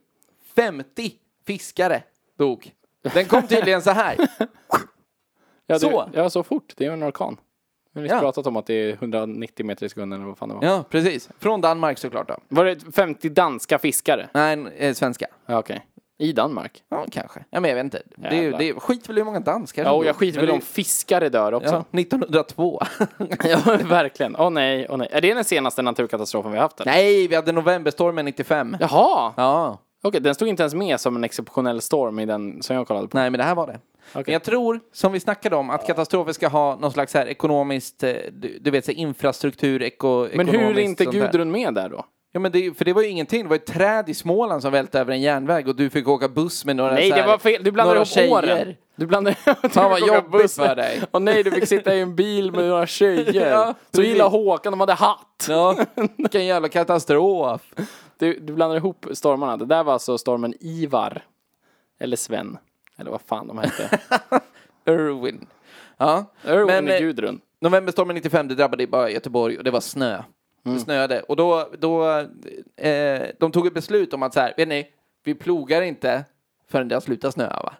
Speaker 2: 50 fiskare dog. Den kom tydligen så här.
Speaker 1: Ja, det,
Speaker 2: Så.
Speaker 1: Ja, så fort. Det är ju en orkan. Vi har nyss
Speaker 2: Ja.
Speaker 1: pratat om att det är 190 meter i sekunden eller vad fan det var.
Speaker 2: Ja, precis. Från Danmark såklart då.
Speaker 1: Var det 50 danska fiskare?
Speaker 2: Nej, en- eh, svenska.
Speaker 1: Ja, okej. I Danmark?
Speaker 2: Ja, kanske. Ja, men jag vet inte. Det är, ju-
Speaker 1: Jävlar.
Speaker 2: det är, skit väl i hur många danskar
Speaker 1: Ja,
Speaker 2: som
Speaker 1: och jag
Speaker 2: dog.
Speaker 1: skiter
Speaker 2: Men
Speaker 1: väl
Speaker 2: det-
Speaker 1: om fiskare dör också.
Speaker 2: Ja, 1902.
Speaker 1: Ja, verkligen. Åh nej, åh nej. Är det den senaste naturkatastrofen vi har haft? Eller?
Speaker 2: Nej, vi hade novemberstormen 95.
Speaker 1: Jaha!
Speaker 2: Ja.
Speaker 1: Okej, den stod inte ens med som en exceptionell storm i den som jag kollade på.
Speaker 2: Nej, men det här var det. Men jag tror, som vi snackade om, att katastrofer ska ha någon slags här ekonomiskt, eh, du, du vet, så här, infrastruktur, eko,
Speaker 1: Men hur är
Speaker 2: ekonomiskt
Speaker 1: inte
Speaker 2: sånt där.
Speaker 1: Gudrun med där då?
Speaker 2: Ja, men det, för det var ju ingenting. Det var ju ett träd i Småland som välte över en järnväg och du fick åka buss med några
Speaker 1: Nej,
Speaker 2: så
Speaker 1: det
Speaker 2: här,
Speaker 1: var fel. Du blandade
Speaker 2: några
Speaker 1: ihop
Speaker 2: tjejer.
Speaker 1: åren. Du blandade ihop...
Speaker 2: Fan, vad jobbigt för dig.
Speaker 1: Och nej, du fick sitta i en bil med några tjejer.
Speaker 2: Ja,
Speaker 1: så
Speaker 2: precis.
Speaker 1: gilla Håkan, de hade hatt.
Speaker 2: Ja, vilken jävla katastrof.
Speaker 1: Du, du blandar ihop stormarna. Det där var alltså stormen Ivar. Eller Sven. Eller vad fan de hette.
Speaker 2: Irwin. Ja.
Speaker 1: Irwin
Speaker 2: Men,
Speaker 1: är
Speaker 2: eh,
Speaker 1: Gudrun.
Speaker 2: Novemberstormen 95, det drabbade bara Göteborg och det var snö.
Speaker 1: Mm.
Speaker 2: Det snöade. Och då, då eh, de tog ett beslut om att så här, vet ni, vi plogar inte förrän det har slutat snöa va?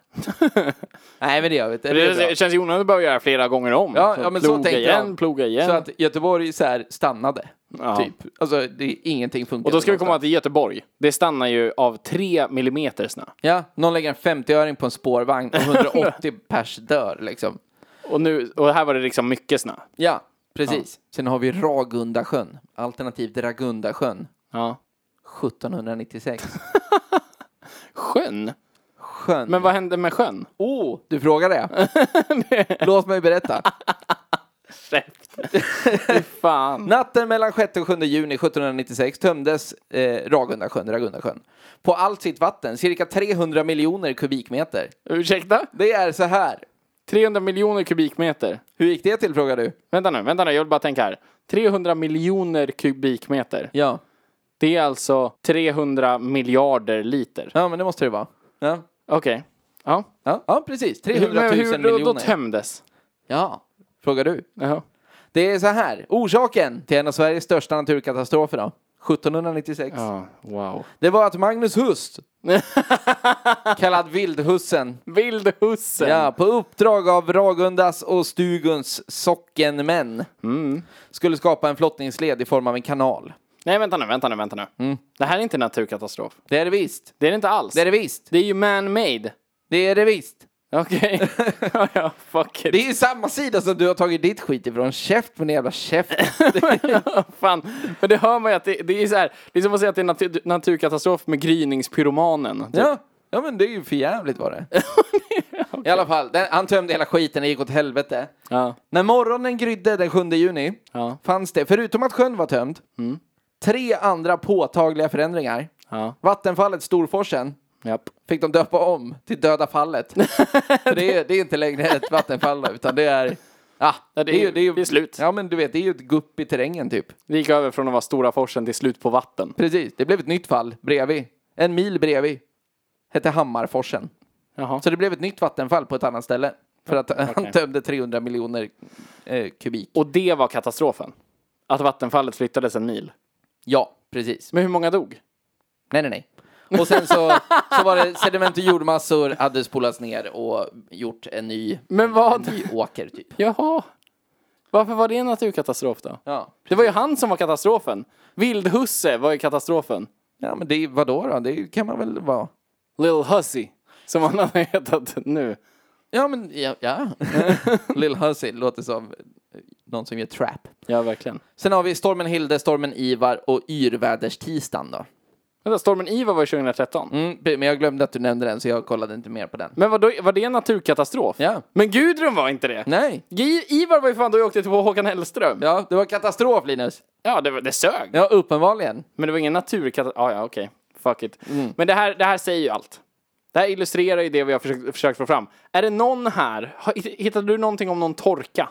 Speaker 2: Nej men det gör vi inte. Det är
Speaker 1: Det,
Speaker 2: bra.
Speaker 1: känns ju onödigt att behöva göra flera gånger om.
Speaker 2: Ja, ja, men så
Speaker 1: ploga
Speaker 2: tänker
Speaker 1: igen,
Speaker 2: jag.
Speaker 1: ploga igen.
Speaker 2: Så att Göteborg så här stannade.
Speaker 1: Ja.
Speaker 2: Typ. Alltså det, ingenting funkar.
Speaker 1: och då ska vi komma ihåg att i Göteborg, det stannar ju av 3 millimeter snö.
Speaker 2: Ja, någon lägger en 50-öring på en spårvagn och 180 pers dör liksom.
Speaker 1: Och, nu, och här var det liksom mycket snö.
Speaker 2: Ja, precis. Sen har vi Ragundasjön, alternativt Ragundasjön,
Speaker 1: Ja.
Speaker 2: 1796.
Speaker 1: Sjön?
Speaker 2: Sjön.
Speaker 1: Men vad hände med sjön?
Speaker 2: Åh, Oh, du frågar det? Låt mig berätta.
Speaker 1: Fy fan.
Speaker 2: Natten mellan 6 och 7 juni 1796 tömdes eh, Ragundasjön, Ragundasjön på allt sitt vatten, cirka 300 miljoner kubikmeter.
Speaker 1: Ursäkta?
Speaker 2: Det är så här.
Speaker 1: 300 miljoner kubikmeter.
Speaker 2: Hur gick det till frågar du?
Speaker 1: Vänta nu, vänta nu, jag vill bara tänka här. 300 miljoner kubikmeter.
Speaker 2: Ja,
Speaker 1: Det är alltså 300 miljarder liter.
Speaker 2: ja men det måste det vara. Ja,
Speaker 1: Okej. Ja.
Speaker 2: ja, ja precis. 300 000
Speaker 1: Men hur då, då
Speaker 2: miljoner.
Speaker 1: tömdes?
Speaker 2: ja, frågar du.
Speaker 1: Jaha.
Speaker 2: Det är så här. Orsaken till en av Sveriges största naturkatastrofer då, 1796.
Speaker 1: Ja, wow.
Speaker 2: Det var att Magnus Hust, kallad Vildhussen,
Speaker 1: Vildhussen.
Speaker 2: Ja, på uppdrag av Ragundas och Stuguns sockenmän skulle skapa en flottningsled i form av en kanal.
Speaker 1: Nej, vänta nu, vänta nu, vänta nu. Det här är inte en naturkatastrof.
Speaker 2: Det är det visst.
Speaker 1: Det är det inte alls.
Speaker 2: Mm. Det är det visst.
Speaker 1: Det är ju man-made.
Speaker 2: Det är det visst.
Speaker 1: Okej. ja, ja, fuck it.
Speaker 2: Det är ju samma sida som du har tagit ditt skit ifrån. Käft på din jävla käft.
Speaker 1: Fan. Men det hör man ju att det, det är så här. Det är som att säga att det är natur, naturkatastrof med gryningspyromanen. Typ.
Speaker 2: ja. ja, men det är ju för jävligt var det. I alla fall, den, han tömde hela skiten, det gick åt helvete.
Speaker 1: Ja.
Speaker 2: När morgonen grydde den 7 juni
Speaker 1: Ja.
Speaker 2: fanns det, förutom att sjön var tömd, tre andra påtagliga förändringar.
Speaker 1: Ja.
Speaker 2: Vattenfallet Storforsen
Speaker 1: Japp.
Speaker 2: fick de döpa om till Döda fallet. För det, är, det är inte längre ett vattenfall utan det är... Ah,
Speaker 1: Ja, det är ju- det är slut.
Speaker 2: Ja, men du vet, det är ju ett gupp i terrängen typ.
Speaker 1: Det gick över från att vara Stora forsen till slut på vatten.
Speaker 2: Precis, det blev ett nytt fall bredvid. En mil bredvid. Hette Hammarforsen.
Speaker 1: Jaha.
Speaker 2: Så det blev ett nytt vattenfall på ett annat ställe. För att han tömde 300 miljoner eh, kubik.
Speaker 1: Och det var katastrofen. Att vattenfallet flyttades en mil.
Speaker 2: Ja, precis.
Speaker 1: Men hur många dog?
Speaker 2: Nej, nej, nej. Och sen så, så var det sediment och jordmassor hade spolats ner och gjort en ny,
Speaker 1: Men
Speaker 2: en
Speaker 1: vad?
Speaker 2: ny åker typ.
Speaker 1: Jaha. Varför var det en naturkatastrof då?
Speaker 2: Ja.
Speaker 1: Det var ju han som var katastrofen. Vildhusse var ju katastrofen.
Speaker 2: Ja, men det är vadå då? Det kan man väl vara.
Speaker 1: Lil Hussy. Som han har hetat nu.
Speaker 2: Ja, men ja. ja. Lil Hussy låter som eh, någon som gör trap.
Speaker 1: Ja, verkligen.
Speaker 2: Sen har vi stormen Hilde, stormen Ivar och yrväderstisdagen då.
Speaker 1: Vänta, stormen Ivar var ju 2013.
Speaker 2: Mm, men jag glömde att du nämnde den så jag kollade inte mer på den.
Speaker 1: Men vadå, var det en naturkatastrof?
Speaker 2: Ja.
Speaker 1: Men Gudrun var inte det.
Speaker 2: Nej.
Speaker 1: Gi- Ivar var ju fan då jag åkte till Håkan Hellström. Ja,
Speaker 2: Ja, det var katastrof Linus.
Speaker 1: det, var, det sög.
Speaker 2: Ja, uppenbarligen.
Speaker 1: Men det var ingen naturkatastrof. Ah, ja, okej. Fuck it.
Speaker 2: Mm.
Speaker 1: Men det här, det här säger ju allt. Det här illustrerar ju det vi har försökt, försökt få fram. Är det någon här, har- hittade du någonting om någon torka?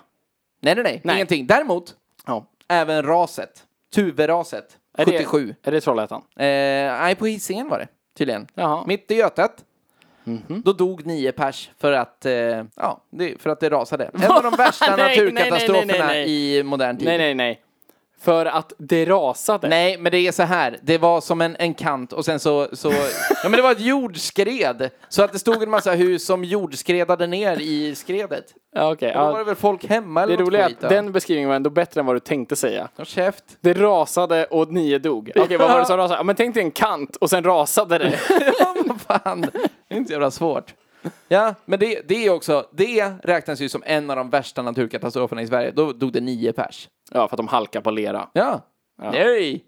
Speaker 2: Nej, nej, nej,
Speaker 1: Nej.
Speaker 2: ingenting. Däremot
Speaker 1: Ja.
Speaker 2: Även raset. Tuveraset.
Speaker 1: Är det-
Speaker 2: 77.
Speaker 1: Är det Trollhättan?
Speaker 2: Eh, nej, på Hisingen var det tydligen.
Speaker 1: Jaha.
Speaker 2: Mitt i Götet.
Speaker 1: Mhm.
Speaker 2: Då dog nio pers för att, eh, ja, det, för att det rasade. En av de värsta
Speaker 1: Nej, nej, nej, nej,
Speaker 2: naturkatastroferna
Speaker 1: nej,
Speaker 2: i modern tid.
Speaker 1: Nej, nej, nej. För att det rasade.
Speaker 2: Typ. Nej, men det är så här. Det var som en, en kant och sen så, så... Ja, men det var ett jordskred. Så att det stod en massa hus som jordskredade ner i skredet.
Speaker 1: Ja, okej.
Speaker 2: Då var
Speaker 1: ja.
Speaker 2: det väl folk hemma
Speaker 1: Det
Speaker 2: eller något
Speaker 1: roliga är
Speaker 2: skit,
Speaker 1: att
Speaker 2: ja.
Speaker 1: den beskrivningen var ändå bättre än vad du tänkte säga.
Speaker 2: Ja, käft.
Speaker 1: Det rasade och nio dog. Okej, vad var det som rasade? Ja, men tänk dig en kant och sen rasade det.
Speaker 2: Ja, vad fan. Det är inte så jävla svårt. Ja, men det, det är också... Det räknas ju som en av de värsta naturkatastroferna i Sverige. Då dog det nio pers.
Speaker 1: Ja, för att de halkar på lera.
Speaker 2: Ja. Nej!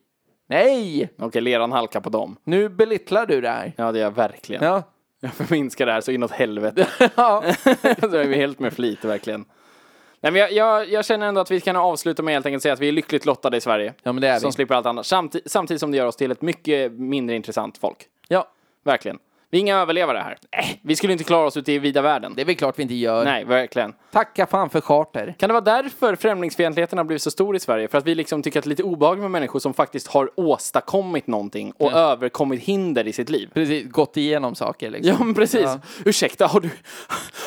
Speaker 2: Nej!
Speaker 1: Okej, leran halkar på dem.
Speaker 2: Nu belittlar du det här.
Speaker 1: Ja, det gör jag verkligen.
Speaker 2: Ja.
Speaker 1: Jag förminskar det här så inåt helvete.
Speaker 2: ja.
Speaker 1: det är helt med flit, verkligen. Nej, men jag, jag, jag känner ändå att vi kan avsluta med helt enkelt att säga att vi är lyckligt lottade i Sverige.
Speaker 2: Ja, men det är
Speaker 1: som
Speaker 2: vi.
Speaker 1: slipper allt annat. Samti- samtidigt som det gör oss till ett mycket mindre intressant folk.
Speaker 2: ja.
Speaker 1: Verkligen. Vi är inga överlevare här. Vi skulle inte klara oss ute i vida världen.
Speaker 2: Det är väl klart vi inte gör.
Speaker 1: Nej, verkligen.
Speaker 2: Tacka fan för charter.
Speaker 1: Kan det vara därför främlingsfientligheten har blivit så stor i Sverige? För att vi liksom tycker att det är lite obehagligt med människor som faktiskt har åstadkommit någonting och överkommit hinder i sitt liv.
Speaker 2: Precis, gått igenom saker liksom.
Speaker 1: Ja, men precis.
Speaker 2: Ja.
Speaker 1: Ursäkta, har du,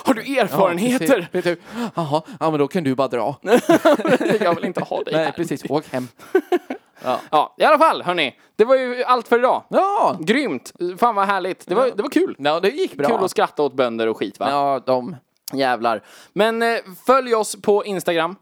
Speaker 1: har du erfarenheter?
Speaker 2: precis. Vet du, Jaha, ja men då kan du bara dra.
Speaker 1: Jag vill inte ha dig
Speaker 2: Nej,
Speaker 1: här.
Speaker 2: precis. Åk hem.
Speaker 1: Ja, i alla fall, hörni. Det var ju allt för idag.
Speaker 2: Ja!
Speaker 1: Grymt! Fan vad härligt. Det var, det var kul.
Speaker 2: Ja, det gick bra.
Speaker 1: Kul att skratta åt bönder och skit, va?
Speaker 2: Ja, de.
Speaker 1: Jävlar. Men eh, följ oss på Instagram.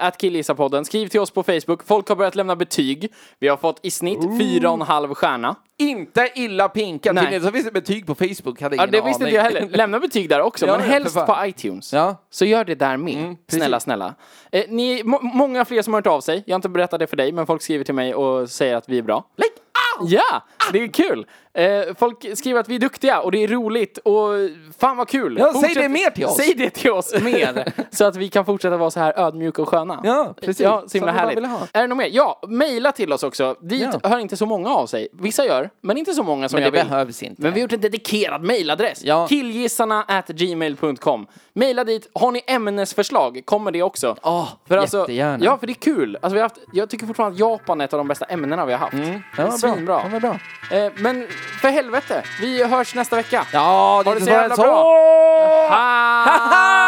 Speaker 1: Att killgissarpodden. Skriv till oss på Facebook. Folk har börjat lämna betyg. Vi har fått i snitt fyra och en halv stjärna.
Speaker 2: Inte illa pinkat.
Speaker 1: Nej.
Speaker 2: Tydligen så finns det betyg på Facebook. Hade
Speaker 1: Ja,
Speaker 2: ingen
Speaker 1: det visste
Speaker 2: aning.
Speaker 1: inte jag heller. Lämna betyg där också,
Speaker 2: Ja,
Speaker 1: men
Speaker 2: ja,
Speaker 1: helst
Speaker 2: för
Speaker 1: på
Speaker 2: fan.
Speaker 1: iTunes.
Speaker 2: Ja. Mm,
Speaker 1: Så gör det där med. snälla, snälla. Eh, ni, må, många fler som har hört av sig. Jag har inte berättat det för dig, men folk skriver till mig och säger att vi är bra.
Speaker 2: Lägg av!
Speaker 1: Ja, det är kul. Eh, folk skriver att vi är duktiga och det är roligt och fan vad kul.
Speaker 2: Ja, säg det mer till oss.
Speaker 1: Säg det till oss mer. så att vi kan fortsätta vara så här ödmjuka och sköna.
Speaker 2: Ja, precis.
Speaker 1: Ja, så himla
Speaker 2: Som vi bara
Speaker 1: härligt.
Speaker 2: ville ha.
Speaker 1: Är det något mer? Ja, mejla till oss också. Dit
Speaker 2: Ja.
Speaker 1: hör inte så många av sig. Vissa gör, men inte så många som
Speaker 2: Men det
Speaker 1: jag vill.
Speaker 2: behövs inte.
Speaker 1: Men vi har gjort en dedikerad mejladress.
Speaker 2: Ja.
Speaker 1: Killgissarna at gmail.com. Mejla dit. Har ni ämnesförslag kommer det också.
Speaker 2: Åh,
Speaker 1: för alltså,
Speaker 2: jättegärna.
Speaker 1: Ja, för det är kul. Alltså, vi har haft, jag tycker fortfarande att Japan är ett av de bästa ämnena vi har haft. Det
Speaker 2: Mm. Ja,
Speaker 1: är
Speaker 2: vad bra.
Speaker 1: svinbra.
Speaker 2: Ja, vad bra.
Speaker 1: Eh, men för helvälde, vi hörs nästa vecka.
Speaker 2: Ja, det
Speaker 1: Ha
Speaker 2: är
Speaker 1: det
Speaker 2: inte
Speaker 1: så
Speaker 2: så
Speaker 1: jävla
Speaker 2: jävla
Speaker 1: bra.
Speaker 2: bra.
Speaker 1: Ha!